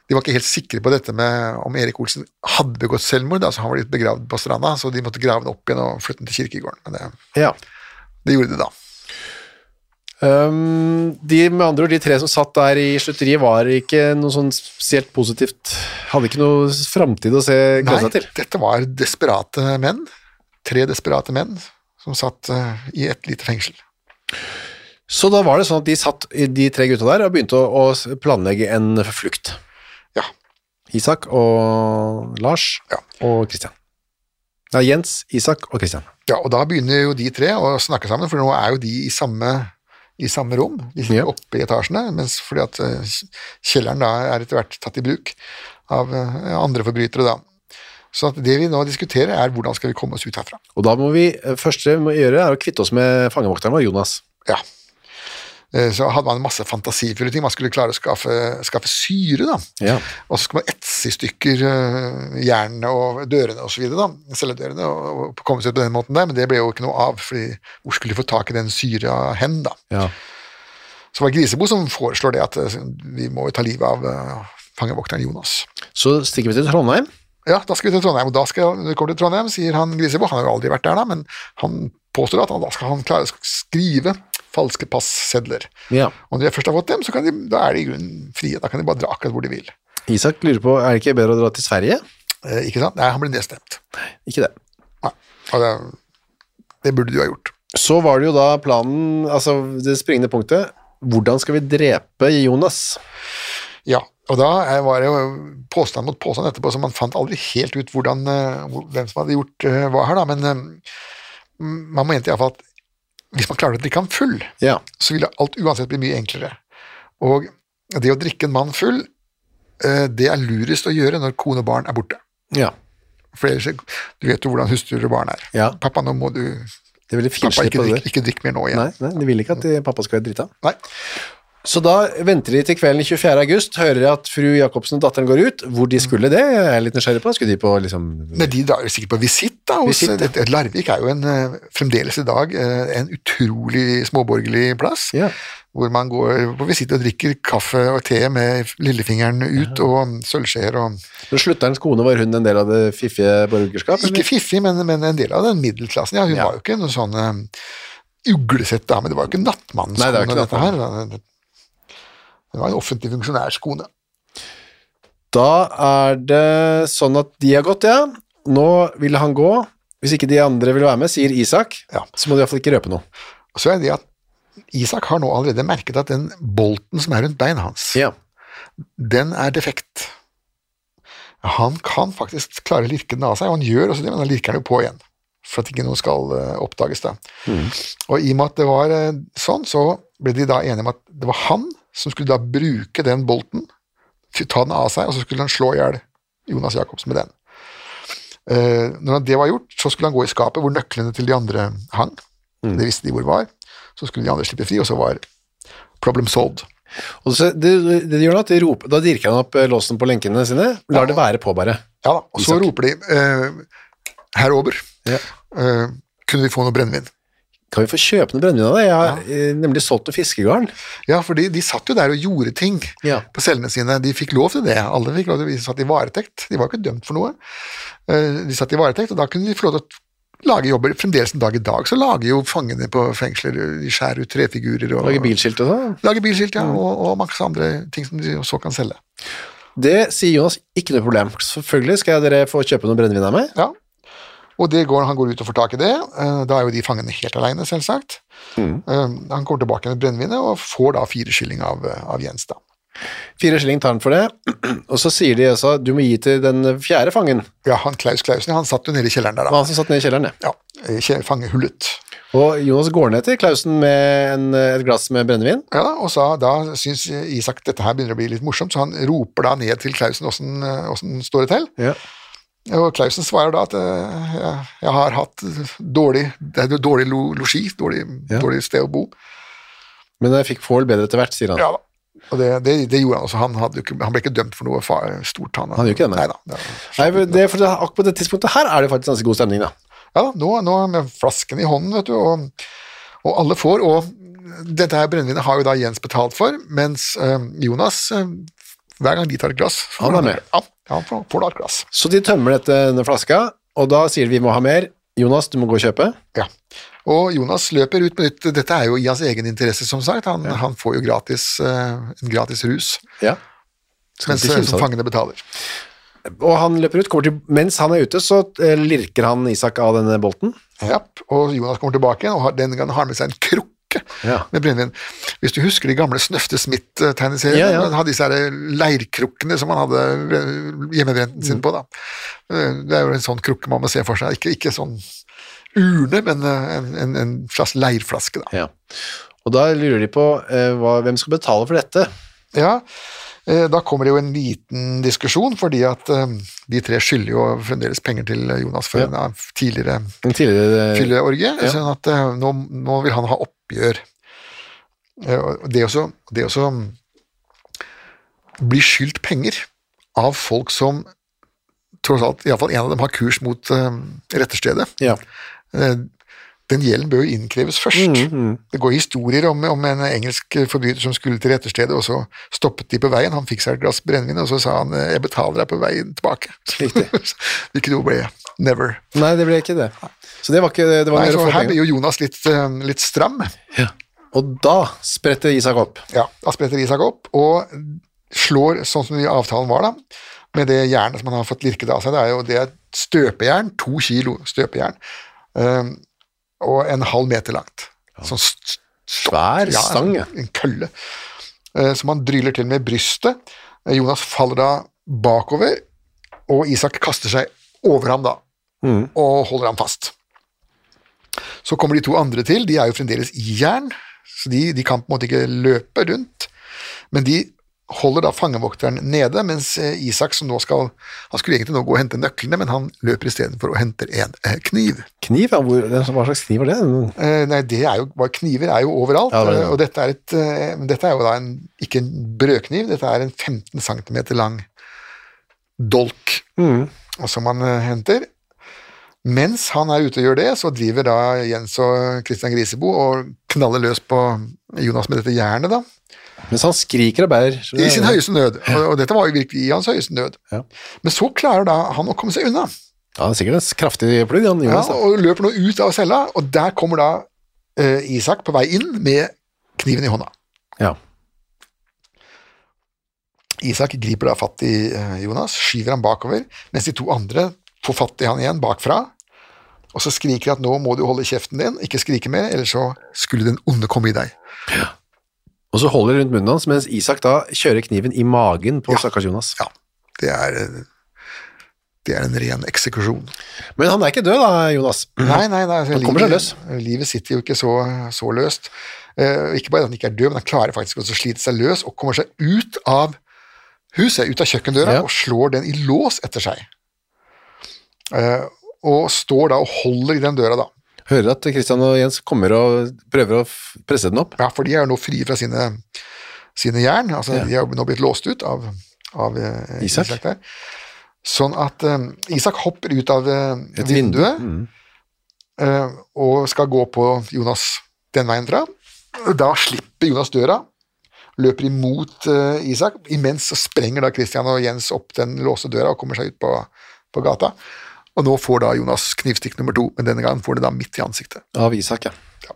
C: de var ikke helt sikre på dette med om Erik Olsen hadde begått selvmord, altså han var blitt begravd på stranda, så de måtte grave den opp igjen og flytte den til kirkegården. Men det,
B: Ja.
C: det gjorde de da.
B: Um, de, med andre ord, de tre som satt der i slutteriet, var ikke noe sånn spesielt positivt. Hadde ikke noe framtid å se glede
C: Nei,
B: seg til.
C: dette var desperate menn. Tre desperate menn som satt eh, i et lite fengsel.
B: Så da var det sånn at de satt, de tre gutta der, og begynte å, å planlegge en flukt.
C: Ja.
B: Isak og Lars
C: Ja.
B: og Kristian. Nei, Jens, Isak og Kristian.
C: ja, og da begynner jo de tre å snakke sammen, for nå er jo de i samme i samme rom. De sitter
B: Ja.
C: oppe i etasjene, mens fordi at eh, kjelleren da er etter hvert tatt i bruk av eh, andre forbrytere. da. Så at det vi nå diskuterer, er hvordan skal vi komme oss ut herfra.
B: Og da må vi, eh, første vi må gjøre er å kvitte oss med fangevokteren vår, Jonas.
C: Ja. Eh, Så hadde man masse fantasifulle ting. Man skulle klare å skaffe, skaffe syre, da.
B: Ja.
C: Og så skal man etse i stykker eh, jernene og dørene og så videre, da, celledørene, og, og komme seg ut på den måten der, men det ble jo ikke noe av, fordi hvor skulle de få tak i den syra hen, da?
B: Ja.
C: Så var det Grisebo som foreslår det, at eh, vi må jo ta livet av eh, fangevokteren Jonas.
B: Så stikker vi til Trondheim.
C: Ja, da skal vi til Trondheim, og da skal, når vi kommer til Trondheim, sier han Grisebo, han har jo aldri vært der da, men han påstår at han, da skal han klare å skrive falske passedler.
B: Ja.
C: Og når de først har fått dem, så kan de, da er de i grunnen frie, da kan de bare dra akkurat hvor de vil.
B: Isak lurer på, er det ikke bedre å dra til Sverige?
C: Eh, ikke sant? Nei, han ble nedstemt.
B: Ikke det.
C: Nei, og det, det burde du ha gjort.
B: Så var det jo da planen, altså det springende punktet, hvordan skal vi drepe Jonas?
C: Ja, og da er- var det jo påstand mot påstand etterpå, så man fant aldri helt ut hvordan, eh, hvor- hvem som hadde gjort eh, hva her, da. Men eh, man mente iallfall at hvis man klarer å drikke ham full,
B: Ja.
C: så ville alt uansett bli mye enklere. Og det å drikke en mann full, eh, det er lurest å gjøre når kone og barn er borte.
B: Ja.
C: For ellers, du vet jo hvordan hustruer og barn er.
B: Ja.
C: Pappa, nå må du
B: Det ville
C: Pappa,
B: finslippe
C: ikke
B: det
C: drikk,
B: der.
C: ikke drikk mer nå igjen.
B: Nei, nei, de ville ikke at de, pappa skulle være drita.
C: Nei.
B: Så da venter de til kvelden 24. august, hører jeg at fru Jacobsen og datteren går ut. Hvor de skulle det, er jeg litt nysgjerrig på. Skulle de på liksom
C: Nei, De drar jo sikkert på visitt. da. Hos,
B: Visitt, ja.
C: det- det- Larvik er jo en, eh, fremdeles i dag eh, en utrolig småborgerlig plass,
B: Ja.
C: hvor man går på visitt og drikker kaffe og te med lillefingeren ut og sølvskjeer og
B: Når slutterens kone var hun en del av det fiffige borgerskap? eller?
C: Ikke fiffig, men, men en del av den middelklassen. Ja, hun
B: Ja.
C: var jo ikke noe sånn eh, uglesett dame, det var jo ikke nattmannens
B: Nei, det er
C: kone,
B: ikke
C: dette her. Det var en offentlig funksjonærs kone.
B: Da er det sånn at de har gått, ja. Nå vil han gå. Hvis ikke de andre vil være med, sier Isak,
C: Ja.
B: så må de iallfall ikke røpe noe.
C: Så er det at Isak har nå allerede merket at den bolten som er rundt beina hans, den er defekt. Han kan faktisk klare å lirke den av seg, og han gjør også det, men han lirker den jo på igjen. For at ikke noe skal eh, oppdages, da. Og i og med at det var eh, sånn, så ble de da enige om at det var han som skulle da bruke den bolten, til å ta den av seg, og så skulle han slå i hjel Jonas Jacobsen med den. Eh, når det var gjort, så skulle han gå i skapet hvor nøklene til de andre hang. Det visste de hvor var. Så skulle de andre slippe fri, og så var problem solved.
B: Og så, det, det de gjør Da at de roper, da dirker han opp eh, låsen på lenkene sine. Lar det være på, bare.
C: Ja da, og så
B: Isak.
C: roper de eh, herr Ober,
B: Ja.
C: eh, kunne vi få noe brennevin?
B: Kan vi få kjøpe noe brennevin av deg? Jeg har eh, nemlig solgt noe fiskegarn.
C: Ja, for de, de satt jo der og gjorde ting
B: Ja.
C: på cellene sine. De fikk lov til det. Alle fikk lov til De satt i varetekt. De var jo ikke dømt for noe. Eh, De satt i varetekt, og da kunne de få lov til å lage jobber. Fremdeles en dag i dag så lager jo fangene på fengsler De skjærer ut trefigurer og
B: Lage bilskilt og sånn.
C: Lager bilskilt, ja, og, og masse andre ting som de så kan selge.
B: Det sier Jonas ikke noe problem. Selvfølgelig skal dere få kjøpe noe brennevin av meg.
C: Ja. Og det går, han går ut og får tak i det. Eh, Da er jo de fangene helt alene, selvsagt. Eh, Han kommer tilbake med brennevinet og får da fire skilling av, eh, av Jens, da.
B: Fire skilling tar han for det. Og så sier de også du må gi til den fjerde fangen.
C: Ja, han Klaus Klausen, han satt jo nede i kjelleren der,
B: Det var
C: da.
B: han som satt nede i kjelleren. det.
C: Ja, eh, kje- Fangehullet.
B: Og Jonas går ned til Klausen med en, et glass med brennevin.
C: Ja, da, og så, da syns Isak dette her begynner å bli litt morsomt, så han roper da ned til Klausen åssen eh, åssen står det til.
B: Ja.
C: Og Klausen svarer da at eh, jeg, jeg har hatt dårlig, det er jo dårlig lo- losji, dårlig,
B: Ja.
C: dårlig sted å bo.
B: Men jeg fikk Fåhl bedre etter hvert, sier han.
C: Ja da. Og det, det, det gjorde han også. Han, hadde jo ikke, han ble ikke dømt for noe fa- stort. Han,
B: Han gjorde ikke det, nei.
C: Neida, det var-
B: Nei, men det, for det, akkurat på det tidspunktet her er det faktisk ganske god stemning, da.
C: Ja da, nå, nå med flasken i hånden, vet du, og, og alle får. Og dette her brennevinet har jo da Jens betalt for, mens eh, Jonas eh, hver gang de tar et glass får
B: Han er med.
C: Ja, han får, får da et glass.
B: Så de tømmer dette, denne flaska, og da sier de vi må ha mer. Jonas, du må gå og kjøpe.
C: Ja. Og Jonas løper ut med nytt. Dette er jo i hans egen interesse, som sagt. Han, han får jo gratis, eh, en gratis rus,
B: Ja.
C: mens
B: ikke kimse
C: eh,
B: av det.
C: som fangene betaler.
B: Og han løper ut, kommer til, mens han er ute, så eh, lirker han Isak av denne bolten.
C: Ja, og Jonas kommer tilbake igjen, og har, denne gangen har han med seg en krukke
B: Ja.
C: med brennevin. Hvis du husker de gamle Snøfte Smith-tegneseriene,
B: Ja, ja.
C: han hadde disse her eh, leirkrukkene som han hadde eh, hjemmebrenten
B: Mm.
C: sin på. Da. Eh, Det er jo en sånn krukke man må se for seg, ikke, ikke sånn urne, men eh, en, en, en slags leirflaske. Da.
B: Ja. Og Og da lurer de på eh, hva, hvem skal betale for dette.
C: Ja, eh, da kommer det jo en liten diskusjon, fordi at eh, de tre skylder jo fremdeles penger til eh, Jonas for en av tidligere
B: Den tidligere
C: fylleorgie,
B: Ja.
C: sånn at eh, nå, nå vil han ha oppgjør. Eh, og Det også, det også blir skyldt penger av folk som tross alt, iallfall en av dem har kurs mot eh, retterstedet.
B: Ja.
C: Eh, Den gjelden bør jo innkreves først.
B: Mm,
C: Det går historier om, om en engelsk forbryter som skulle til retterstedet, og så stoppet de på veien. Han fikk seg et glass brennevin, og så sa han eh, 'jeg betaler deg på veien tilbake'. Riktig. Hvilket jo ble never.
B: Nei, det ble ikke det. Så det var ikke det var
C: Nei,
B: mer å
C: så
B: få
C: her blir
B: penger.
C: jo Jonas litt, eh, litt stram.
B: Og da spretter Isak opp.
C: Ja, da spretter Isak opp og slår sånn som i avtalen var, da. Med det jernet som han har fått lirket av seg. Det er jo det er et støpejern, to kilo støpejern, eh, og en halv meter langt. Sånn st-
B: Svær
C: ja,
B: stang. ja.
C: En, en kølle. eh, Som han dryller til med brystet. Eh, Jonas faller da bakover, og Isak kaster seg over ham da, og holder ham fast. Så kommer de to andre til, de er jo fremdeles i jern, så de, de kan på en måte ikke løpe rundt. Men de holder da fangevokteren nede, mens eh, Isak som nå skal, han skulle egentlig nå gå og hente nøklene, men han løper istedenfor og henter en eh, kniv.
B: Kniv, ja. Hvor, hva slags kniv var det?
C: Eh, nei, det er jo, bare kniver er jo overalt,
B: Ja, det er det.
C: eh, og dette er, et, eh, men dette er jo da en, ikke en brødkniv, dette er en 15 cm lang dolk,
B: Mm.
C: og som han eh, henter. Mens han er ute og gjør det, så driver da Jens og Christian Grisebo og knaller løs på Jonas med dette jernet, da.
B: Mens han skriker og bærer. Så
C: I
B: det-
C: sin høyeste nød, og, og dette var jo virkelig i hans høyeste nød.
B: Ja.
C: Men så klarer da han å komme seg unna.
B: Ja, det er sikkert en kraftig plugg, han
C: Ja,
B: Jonas. da.
C: og løper nå ut av cella, og der kommer da eh, Isak på vei inn med kniven i hånda.
B: Ja.
C: Isak griper da fatt i eh, Jonas, skyver ham bakover, mens de to andre får fatt i han igjen bakfra, og så skriker de at nå må du holde kjeften din, ikke skrike mer, ellers så skulle den onde komme i deg.
B: Og så holder de rundt munnen hans, mens Isak da kjører kniven i magen på stakkars Jonas.
C: Ja, det er, eh, det er en ren eksekusjon.
B: Men han er ikke død da, Jonas.
C: Nei, nei, nei. altså,
B: Han Mm. kommer seg
C: livet- Livet sitter jo ikke så, så løst. Eh, ikke bare at han ikke er død, men han klarer faktisk også å slite seg løs og kommer seg ut av huset, ut av kjøkkendøra,
B: Ja.
C: og slår den i lås etter seg. Eh, og står da og holder i den døra, da.
B: Hører at Kristian og Jens kommer og prøver å f- presse den opp.
C: Ja, for de er jo nå frie fra sine, sine jern. Altså, De er jo nå blitt låst ut av, av eh,
B: Isak.
C: Isak. der. Sånn at eh, Isak hopper ut av eh,
B: Et vindu. Mm.
C: vinduet eh, og skal gå på Jonas den veien fra. Da slipper Jonas døra, løper imot eh, Isak. Imens så sprenger da Christian og Jens opp den låste døra og kommer seg ut på, på gata. Og nå får da Jonas knivstikk nummer to, men denne gangen får det da midt i ansiktet.
B: Av Isak, ja.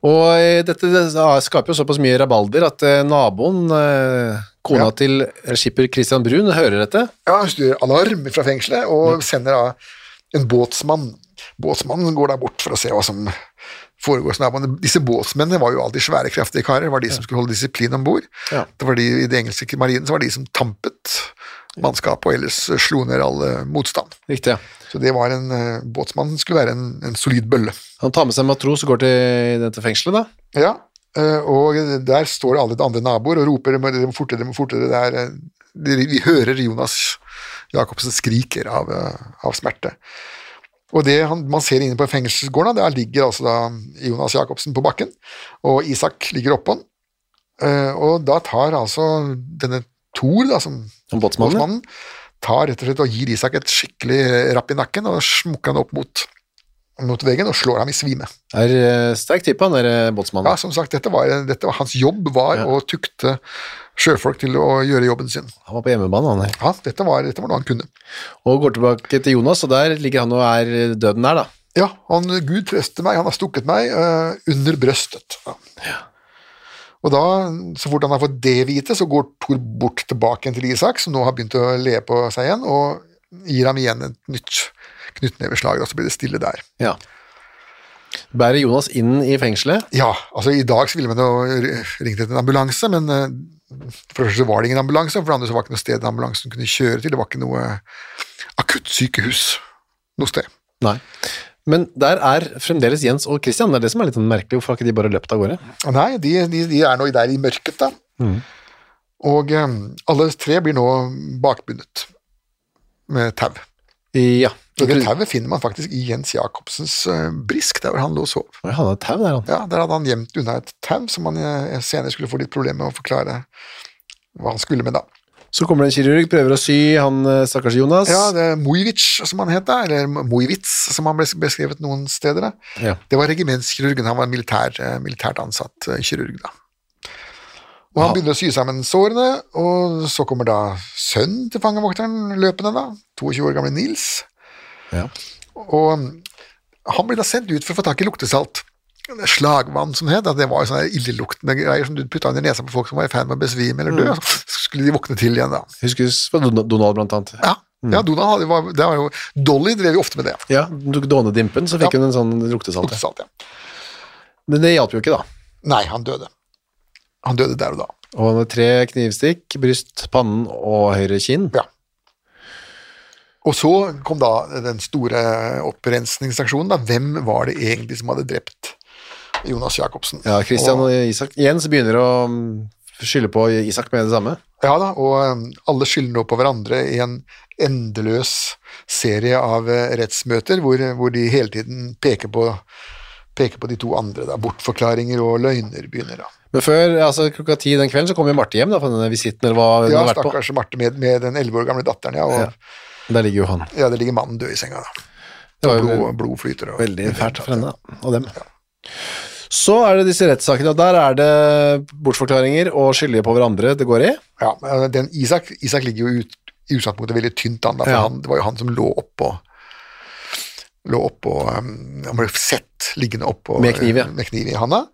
B: Og eh, dette det, ja, skaper jo såpass mye rabalder at eh, naboen, eh, kona
C: Ja.
B: til skipper Kristian Brun, hører dette.
C: Ja, han styrer alarm fra fengselet og sender da en båtsmann. Båtsmannen går da bort for å se hva som foregår hos naboene. Disse båtsmennene var jo alltid svære, kraftige karer. Det var de som skulle holde disiplin om bord.
B: Ja.
C: Det var de i den engelske marinen som var de som tampet mannskapet og ellers slo ned all eh, motstand.
B: Riktig, ja.
C: Så det var en eh, båtsmann som skulle være en, en solid bølle.
B: Han tar med seg en matros og går til dette fengselet, da.
C: Ja, eh, og der står alle de andre naboer og roper «Dere må- dere må fortere, dere må fortere. Det er, eh, de- vi hører Jonas Jacobsen skriker av, eh, av smerte. Og det han, man ser inne på fengselsgården, da, der ligger altså da Jonas Jacobsen på bakken, og Isak ligger oppå han. Eh, Og da tar altså denne Thor, da, som
B: Han båtsmannen.
C: Båtsmannen tar rett og slett og gir Isak et skikkelig rapp i nakken og smukker han opp mot, mot veggen og slår ham i svime.
B: Er eh, sterk type, han der eh, båtsmannen.
C: Ja, som sagt, dette var, dette var hans jobb, var å tukte sjøfolk til å gjøre jobben sin.
B: Han var på hjemmebane, han her.
C: Ja, dette var, dette var noe han kunne.
B: Og går tilbake til Jonas, og der ligger han og er døden der, da.
C: Ja, han, Gud trøste meg, han har stukket meg eh, under brøstet. Ja. Og da, så fort han har fått det vite, så går Thor bort tilbake igjen til Isak, som nå har begynt å le på seg igjen, og gir ham igjen et nytt knyttneveslag, og så blir det stille der.
B: Ja. Bærer Jonas inn i fengselet.
C: Ja, altså i dag så ville man jo ringt etter en ambulanse, men eh, for det første så var det ingen ambulanse, og for det andre så var det ikke noe sted ambulansen kunne kjøre til. Det var ikke eh, noe akuttsykehus noe sted.
B: Nei. Men der er fremdeles Jens og Christian. Det er det som er litt sånn merkelig. Hvorfor har ikke de bare løpt av gårde?
C: Nei, de, de, de er nå der i mørket, da. Og eh, alle tre blir nå bakbundet med tau.
B: Ja.
C: Og Det tauet finner man faktisk i Jens Jacobsens eh, brisk, der hvor han lå og sov.
B: Oi, han hadde tau der, han.
C: Ja, Der hadde han gjemt unna et tau som han eh, senere skulle få litt problemer med å forklare hva han skulle med, da.
B: Så kommer det en kirurg, prøver å sy han eh, stakkars Jonas.
C: Ja, det er Mojvic, som han het da, eller Mojvitz, som han ble beskrevet noen steder. da.
B: Ja.
C: Det var regimentskirurgen, han var en militær, eh, militært ansatt eh, kirurg da. Og han begynner å sy sammen sårene, og så kommer da sønnen til fangevokteren løpende da, 22 år gamle Nils.
B: Ja.
C: Og mm, han blir da sendt ut for å få tak i luktesalt. Det Slagvann som het, da, det var jo sånne illeluktende greier som du putta under nesa på folk som var i ferd med å besvime eller dø, og så skulle de våkne til igjen da.
B: Huskes fra Don- Donald, blant annet.
C: Ja, ja Donald hadde, var, det var jo, Dolly drev jo ofte med det.
B: Ja, du tok Dånedimpen, så fikk
C: Ja.
B: hun en sånn luktesalt. ja.
C: Luktesalt, ja.
B: Men det hjalp jo ikke, da.
C: Nei, han døde. Han døde der og da.
B: Og han hadde tre knivstikk, bryst, pannen og høyre kinn.
C: Ja. Og så kom da den store opprensningsaksjonen. Da. Hvem var det egentlig som hadde drept Jonas Jacobsen?
B: Ja, Christian
C: og,
B: og Isak. Jens begynner å mm, skylde på Isak med det samme.
C: ja da, og um, alle skylder nå på hverandre i en endeløs serie av eh, rettsmøter hvor, hvor de hele tiden peker på, peker på de to andre. Da. Bortforklaringer og løgner begynner da.
B: Men før, altså klokka ti den kvelden, så kom jo Marte hjem da, fra denne visitten, eller hva hun
C: Ja,
B: har vært på.
C: stakkars Marte med, med den 11 år gamle datteren, ja. Og, ja.
B: Der ligger jo han.
C: der ligger mannen død i senga, da.
B: Det var jo
C: Blod, blod flyter. Og,
B: veldig fælt for henne da, og dem. Så er det disse rettssakene, og der er det bortforklaringer og skyldige på hverandre det går i.
C: Ja, men den Isak, Isak ligger jo ut, i utgangspunktet veldig tynt an, da, for
B: Ja.
C: han, det var jo han som lå oppå lå oppå um, Han ble sett liggende oppå
B: Med kniv, ja.
C: med kniv i handa.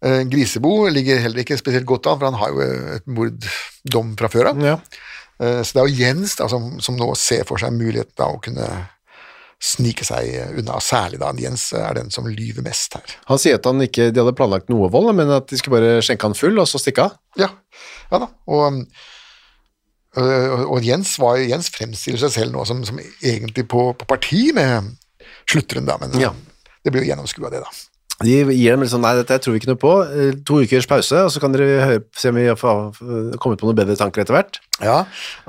C: Eh, Grisebo ligger heller ikke spesielt godt an, for han har jo et morddom fra før av.
B: Ja.
C: Eh, Så det er jo Jens da, som, som nå ser for seg muligheten av å kunne snike seg unna, særlig da Jens er den som lyver mest her.
B: Han sier at han ikke, de hadde planlagt noe vold, men at de skulle bare skjenke han full, og så stikke av.
C: Ja, ja da. Og, um, øh, og Jens, var, Jens fremstiller seg selv nå som, som egentlig på, på parti med slutteren, da, men øh,
B: Ja.
C: det blir jo gjennomskua, det, da.
B: De gir dem litt sånn, nei, dette tror vi ikke noe på, Eh, to ukers pause, og så kan dere høre, se om vi har fa- kommet på noen bedre tanker etter hvert.
C: Ja,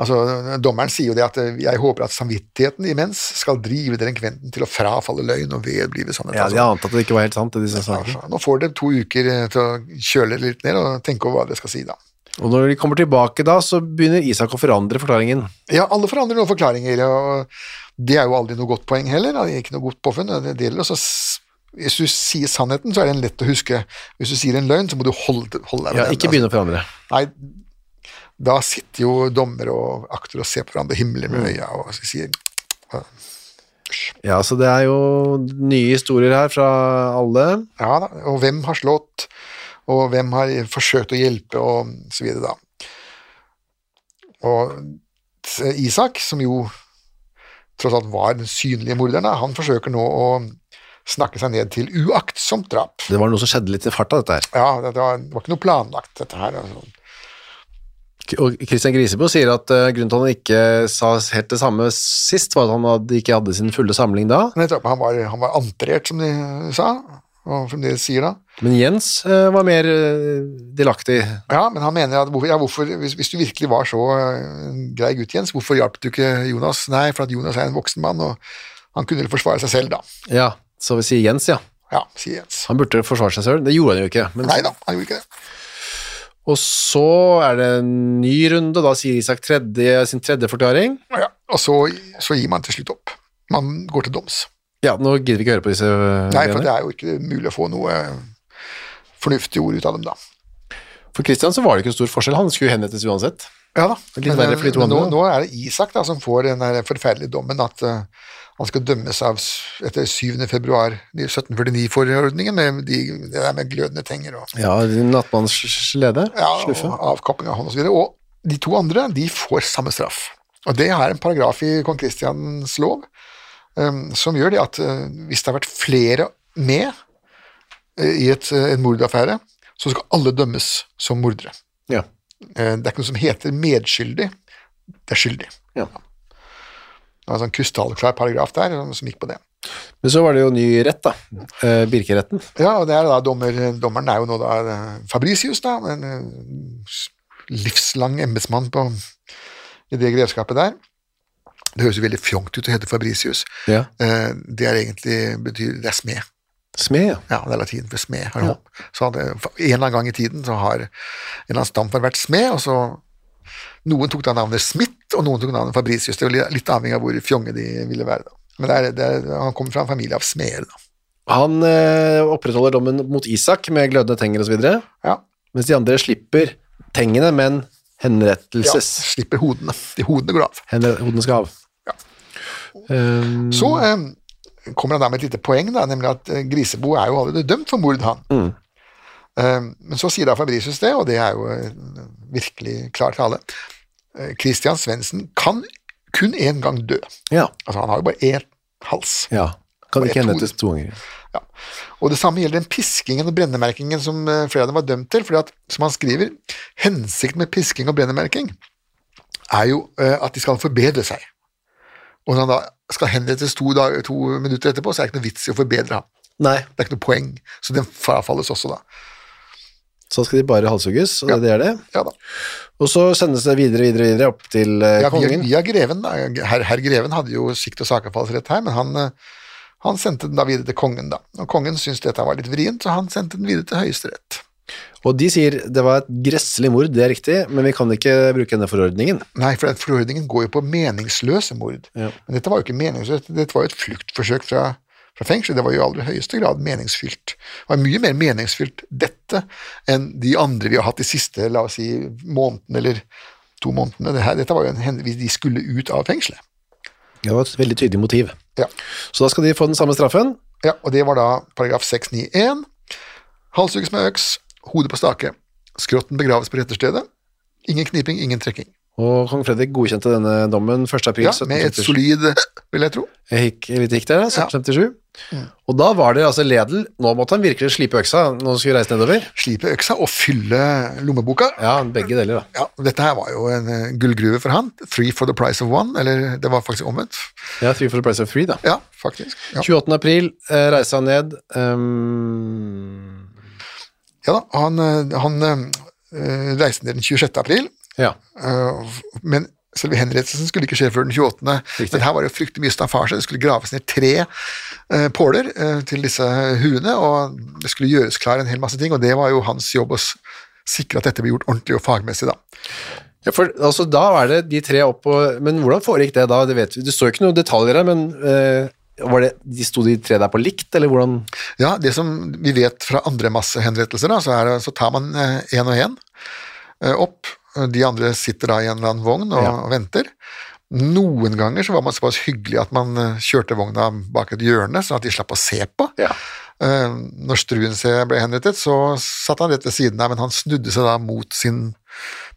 C: altså Dommeren sier jo det at øh, jeg håper at samvittigheten imens skal drive delinkventen til å frafalle løgn og vedblive sannhet.
B: Ja,
C: altså.
B: de har antatt at det ikke var helt sant, det de sa.
C: Altså, Nå får dere to uker eh, til å kjøle dere litt ned og tenke over hva dere skal si, da.
B: Og når de kommer tilbake da, så begynner Isak å forandre forklaringen.
C: Ja, alle forandrer noen forklaringer, og det er jo aldri noe godt poeng heller. Det er ikke noe godt påfunn. Det gjelder også s- Hvis du sier sannheten, så er den lett å huske. Hvis du sier en løgn, så må du holde, holde deg
B: Ja, ikke begynne å forandre.
C: Altså, nei, da sitter jo dommer og akter og ser på hverandre, himler
B: Mm.
C: med øya og sier
B: Ja, så det er jo nye historier her fra alle.
C: Ja da, og hvem har slått, og hvem har forsøkt å hjelpe, og så videre, da. Og Isak, som jo tross alt var den synlige morderen, da, han forsøker nå å snakke seg ned til uaktsomt drap.
B: Det var noe som skjedde litt i farta, dette her.
C: Ja, det var, det var ikke noe planlagt, dette her. Altså.
B: Og Kristian Grisebo sier at eh, grunnen til at han ikke sa helt det samme sist, var at han hadde, ikke hadde sin fulle samling da.
C: Nettopp, Han var, han var antrert, som de sa, og fremdeles sier da.
B: Men Jens eh, var mer eh, delaktig.
C: Ja, men han mener at hvorfor, ja, hvorfor, hvis, hvis du virkelig var så eh, grei gutt, Jens, hvorfor hjalp du ikke Jonas? Nei, for at Jonas er en voksen mann, og han kunne vel forsvare seg selv, da.
B: Ja, så vi sier Jens, ja.
C: Ja, sier Jens.
B: Han burde forsvare seg selv. Det gjorde han jo ikke. Men,
C: Nei da, han gjorde ikke det.
B: og så er det en ny runde, da sier Isak tredje, sin tredje forklaring.
C: Ja, og så, så gir man til slutt opp. Man går til doms.
B: Ja, nå gidder vi ikke høre på disse eh,
C: Nei, for
B: greiene.
C: det er jo ikke mulig å få noe eh, fornuftig ord ut av dem, da.
B: For Kristian så var det ikke en stor forskjell, han skulle jo henrettes uansett.
C: Ja da.
B: er litt verre for de to
C: men nå,
B: andre, da.
C: nå er det Isak da, som får den der forferdelige dommen at eh, han skal dømmes av s- etter 7. februar 1749-forordningen med de, det der med glødende tenger og,
B: Ja, nattmannslede,
C: ja, og
B: sluffe.
C: avkapping av hånd osv. Og de to andre de får samme straff. Og det er en paragraf i kong Kristians lov eh, som gjør det at eh, hvis det har vært flere med eh, i et, eh, en mordaffære, så skal alle dømmes som mordere.
B: Ja.
C: Eh, Det er ikke noe som heter medskyldig, det er skyldig.
B: Ja.
C: Det var en sånn krystallklar paragraf der som- som gikk på det.
B: Men så var det jo ny rett, da. Eh, Birkeretten.
C: Ja, og det er da dommer, dommeren er jo nå da eh, Fabricius, da, en eh, s- livslang embetsmann på- i det grevskapet der. Det høres jo veldig fjongt ut å hete Fabricius.
B: Ja.
C: Eh, Det er egentlig betyr, det er smed.
B: Smed, ja.
C: Ja, det er latin for smed. har jeg håpet. Så hadde, en eller annen gang i tiden så har en eller annen stamfar vært smed, og så Noen tok da navnet Smith, og noen tok navnet Fabricius. Det er jo li- litt avhengig av hvor fjonge de ville være. da. Men det er, det er, han kommer fra en familie av smeder, da.
B: Han eh, opprettholder dommen mot Isak med glødende tenger osv.,
C: Ja.
B: mens de andre slipper tengene, men
C: ja.
B: henrettelses.
C: Slipper hodene. De hodene går av.
B: Henre hodene skal av. Um,
C: Så eh, kommer han da med et lite poeng, da, nemlig at eh, Grisebo er jo allerede dømt for mord, han. Eh, men så sier da Fabricius det, og det er jo eh, virkelig klar tale. Eh, Christian Svendsen kan kun én gang dø.
B: ja.
C: Altså, han har jo bare én hals.
B: ja. Kan
C: Og
B: ikke
C: et
B: henrettes to ganger.
C: Ja. Og det samme gjelder den piskingen og brennemerkingen som eh, flere av dem var dømt til, fordi at, som han skriver, hensikten med pisking og brennemerking er jo eh, at de skal forbedre seg. Og når han da skal henrettes to, dag, to minutter etterpå, så er det ikke noe vits i å forbedre ham.
B: Nei,
C: Det er ikke noe poeng, så den frafalles også da.
B: så skal de bare halshugges, og det er det.
C: Ja da.
B: Eh, Og så sendes det videre, videre, videre opp til eh,
C: Ja, via,
B: kongen.
C: via greven, da. Herr, herr greven hadde jo sikt- og sakefallsrett her, men han, eh, han sendte den da videre til kongen, da. Og kongen syntes dette var litt vrient, så han sendte den videre til Høyesterett.
B: Og de sier det var et gresselig mord, det er riktig, men vi kan ikke bruke denne forordningen.
C: Nei, for den forordningen går jo på meningsløse mord.
B: Ja.
C: Men dette var jo ikke meningsløst, dette var jo et fluktforsøk fra, fra fengsel. Det var jo i aller høyeste grad meningsfylt. Det var mye mer meningsfylt dette enn de andre vi har hatt de siste la oss si, månedene eller to månedene. Det her, dette var jo en hendelse de skulle ut av fengselet.
B: Det var et veldig tydelig motiv.
C: Ja.
B: Så da skal de få den samme straffen.
C: ja, Og det var da paragraf 691. Halshugges med øks, hodet på stake. Skrotten begraves på retterstedet. Ingen kniping, ingen trekking.
B: Og kong Fredrik godkjente denne dommen 1. april
C: Ja, med et
B: 1757.
C: solid, vil jeg tro.
B: Jeg gikk litt gikk der, da,
C: Ja. Mm.
B: 1757. Og da var det altså Ledel Nå måtte han virkelig slipe øksa når han skulle reise nedover.
C: Slipe øksa og fylle lommeboka.
B: Ja, begge deler, da.
C: ja, dette her var jo en eh, gullgruve for han. Three for the price of one, eller det var faktisk omvendt.
B: Ja, Three for the price of three, da.
C: Ja, faktisk. Ja,
B: 28. april eh, reiste han ned. ehm,
C: ja da, han, eh, han eh, reiste ned den 26. april,
B: ja.
C: eh, men selve henrettelsen skulle ikke skje før den 28.
B: Riktig.
C: Men her var det jo fryktelig mye staffasje. Det skulle graves ned tre eh, påler eh, til disse huene, og det skulle gjøres klar en hel masse ting, og det var jo hans jobb å s- sikre at dette ble gjort ordentlig og fagmessig, da.
B: ja, for altså, da er det de tre opp og Men hvordan foregikk det da? Det vet vi. Det står jo ikke noen detaljer her, men eh, var det, de sto de tre der på likt, eller hvordan
C: Ja, det som vi vet fra andre massehenrettelser, da, så, er, det- så tar man én og én opp. De andre sitter da i en eller annen vogn og, og venter. Noen ganger så var man såpass hyggelig at man eh, kjørte vogna bak et hjørne, sånn at de slapp å se på.
B: Ja.
C: Eh, Når Struensee ble henrettet, så satt han rett ved siden av, men han snudde seg da mot sin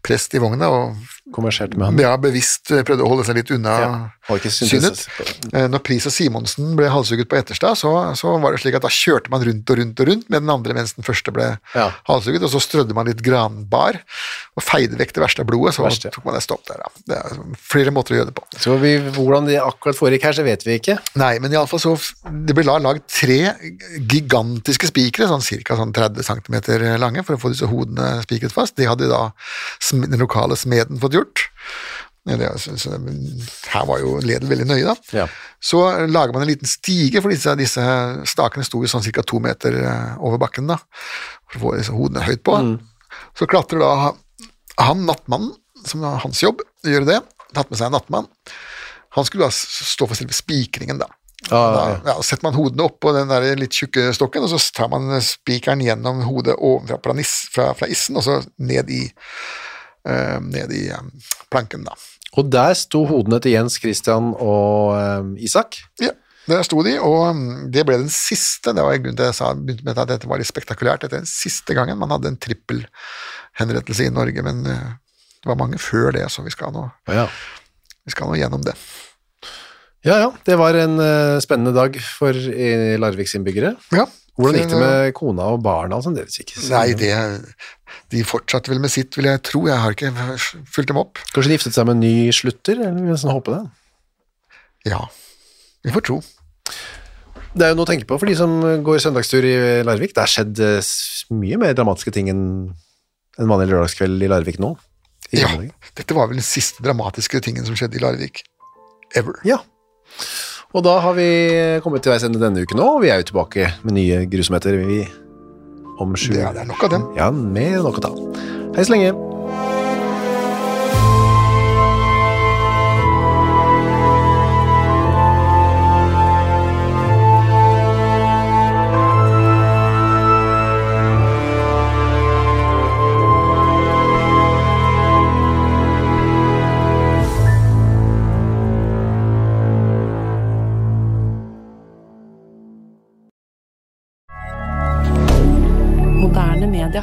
C: prest i vogna og
B: konverserte med han?
C: ja, bevisst eh, prøvde å holde seg litt unna
B: Ja, har ikke syntes-
C: synet. Eh, Når Pris og Simonsen ble halshugget på Etterstad, så, så var det slik at da kjørte man rundt og rundt og rundt med den andre mens den første ble
B: Ja.
C: halshugget, og så strødde man litt granbar og feide vekk det verste av blodet, så
B: Verste, ja.
C: tok man et stopp der. Ja. Det er flere måter å gjøre det på.
B: Så vi, hvordan det akkurat foregikk her, så vet vi ikke.
C: Nei, men iallfall så f- Det ble la- lagd tre gigantiske spikere, sånn ca. Sånn 30 cm lange, for å få disse hodene spikret fast. Det hadde da sm- den lokale smeden fått gjort. Ja, det, er- så, så, her var jo Ledel veldig nøye, da.
B: Ja.
C: Så lager man en liten stige, for disse, disse stakene sto jo sånn ca. to meter eh, over bakken, da, for å få disse hodene høyt på. Så klatrer da han, nattmannen, som er hans jobb, å gjøre det. Tatt med seg en nattmann. Han skulle da s- stå for selve spikringen, da. da
B: Ah,
C: ja, setter man hodene oppå den der litt tjukke stokken, og så tar man spikeren gjennom hodet ovenfra fra, nis- fra, fra issen, og så ned i, eh, ned i eh, planken, da.
B: Og der sto hodene til Jens Christian og eh, Isak.
C: Ja, der sto de, og mm, det ble den siste, det var grunnen til at jeg sa, begynte med at dette var litt spektakulært, dette er den siste gangen man hadde en trippel henrettelse i Norge, men eh, det var mange før det, så vi skal nå,
B: Ja.
C: vi skal nå gjennom det.
B: ja, ja. Det var en eh, spennende dag for eh, Larviks innbyggere.
C: Ja.
B: Hvordan gikk det med kona og barna? og sånn? Det vet vi ikke.
C: eh, Nei, det, de fortsatte vel med sitt, vil jeg tro, jeg har ikke fulgt dem opp.
B: Kanskje de giftet seg med en ny slutter? eller vi kan sånn håpe det.
C: Ja, vi får tro.
B: Det er jo noe å tenke på for de som går søndagstur i Larvik. Det har skjedd eh, s- mye mer dramatiske ting enn en vanlig lørdagskveld i Larvik nå. I
C: Ja,
B: Gamle dager.
C: dette var vel den siste dramatiske tingen som skjedde i Larvik. Ever.
B: ja. Og da har vi kommet til veis ende denne uken òg, og vi er jo tilbake med nye grusomheter vi om sju
C: Det er, det er nok av dem.
B: Ja, mer enn nok å ta. Hei så lenge.
D: Moderne media.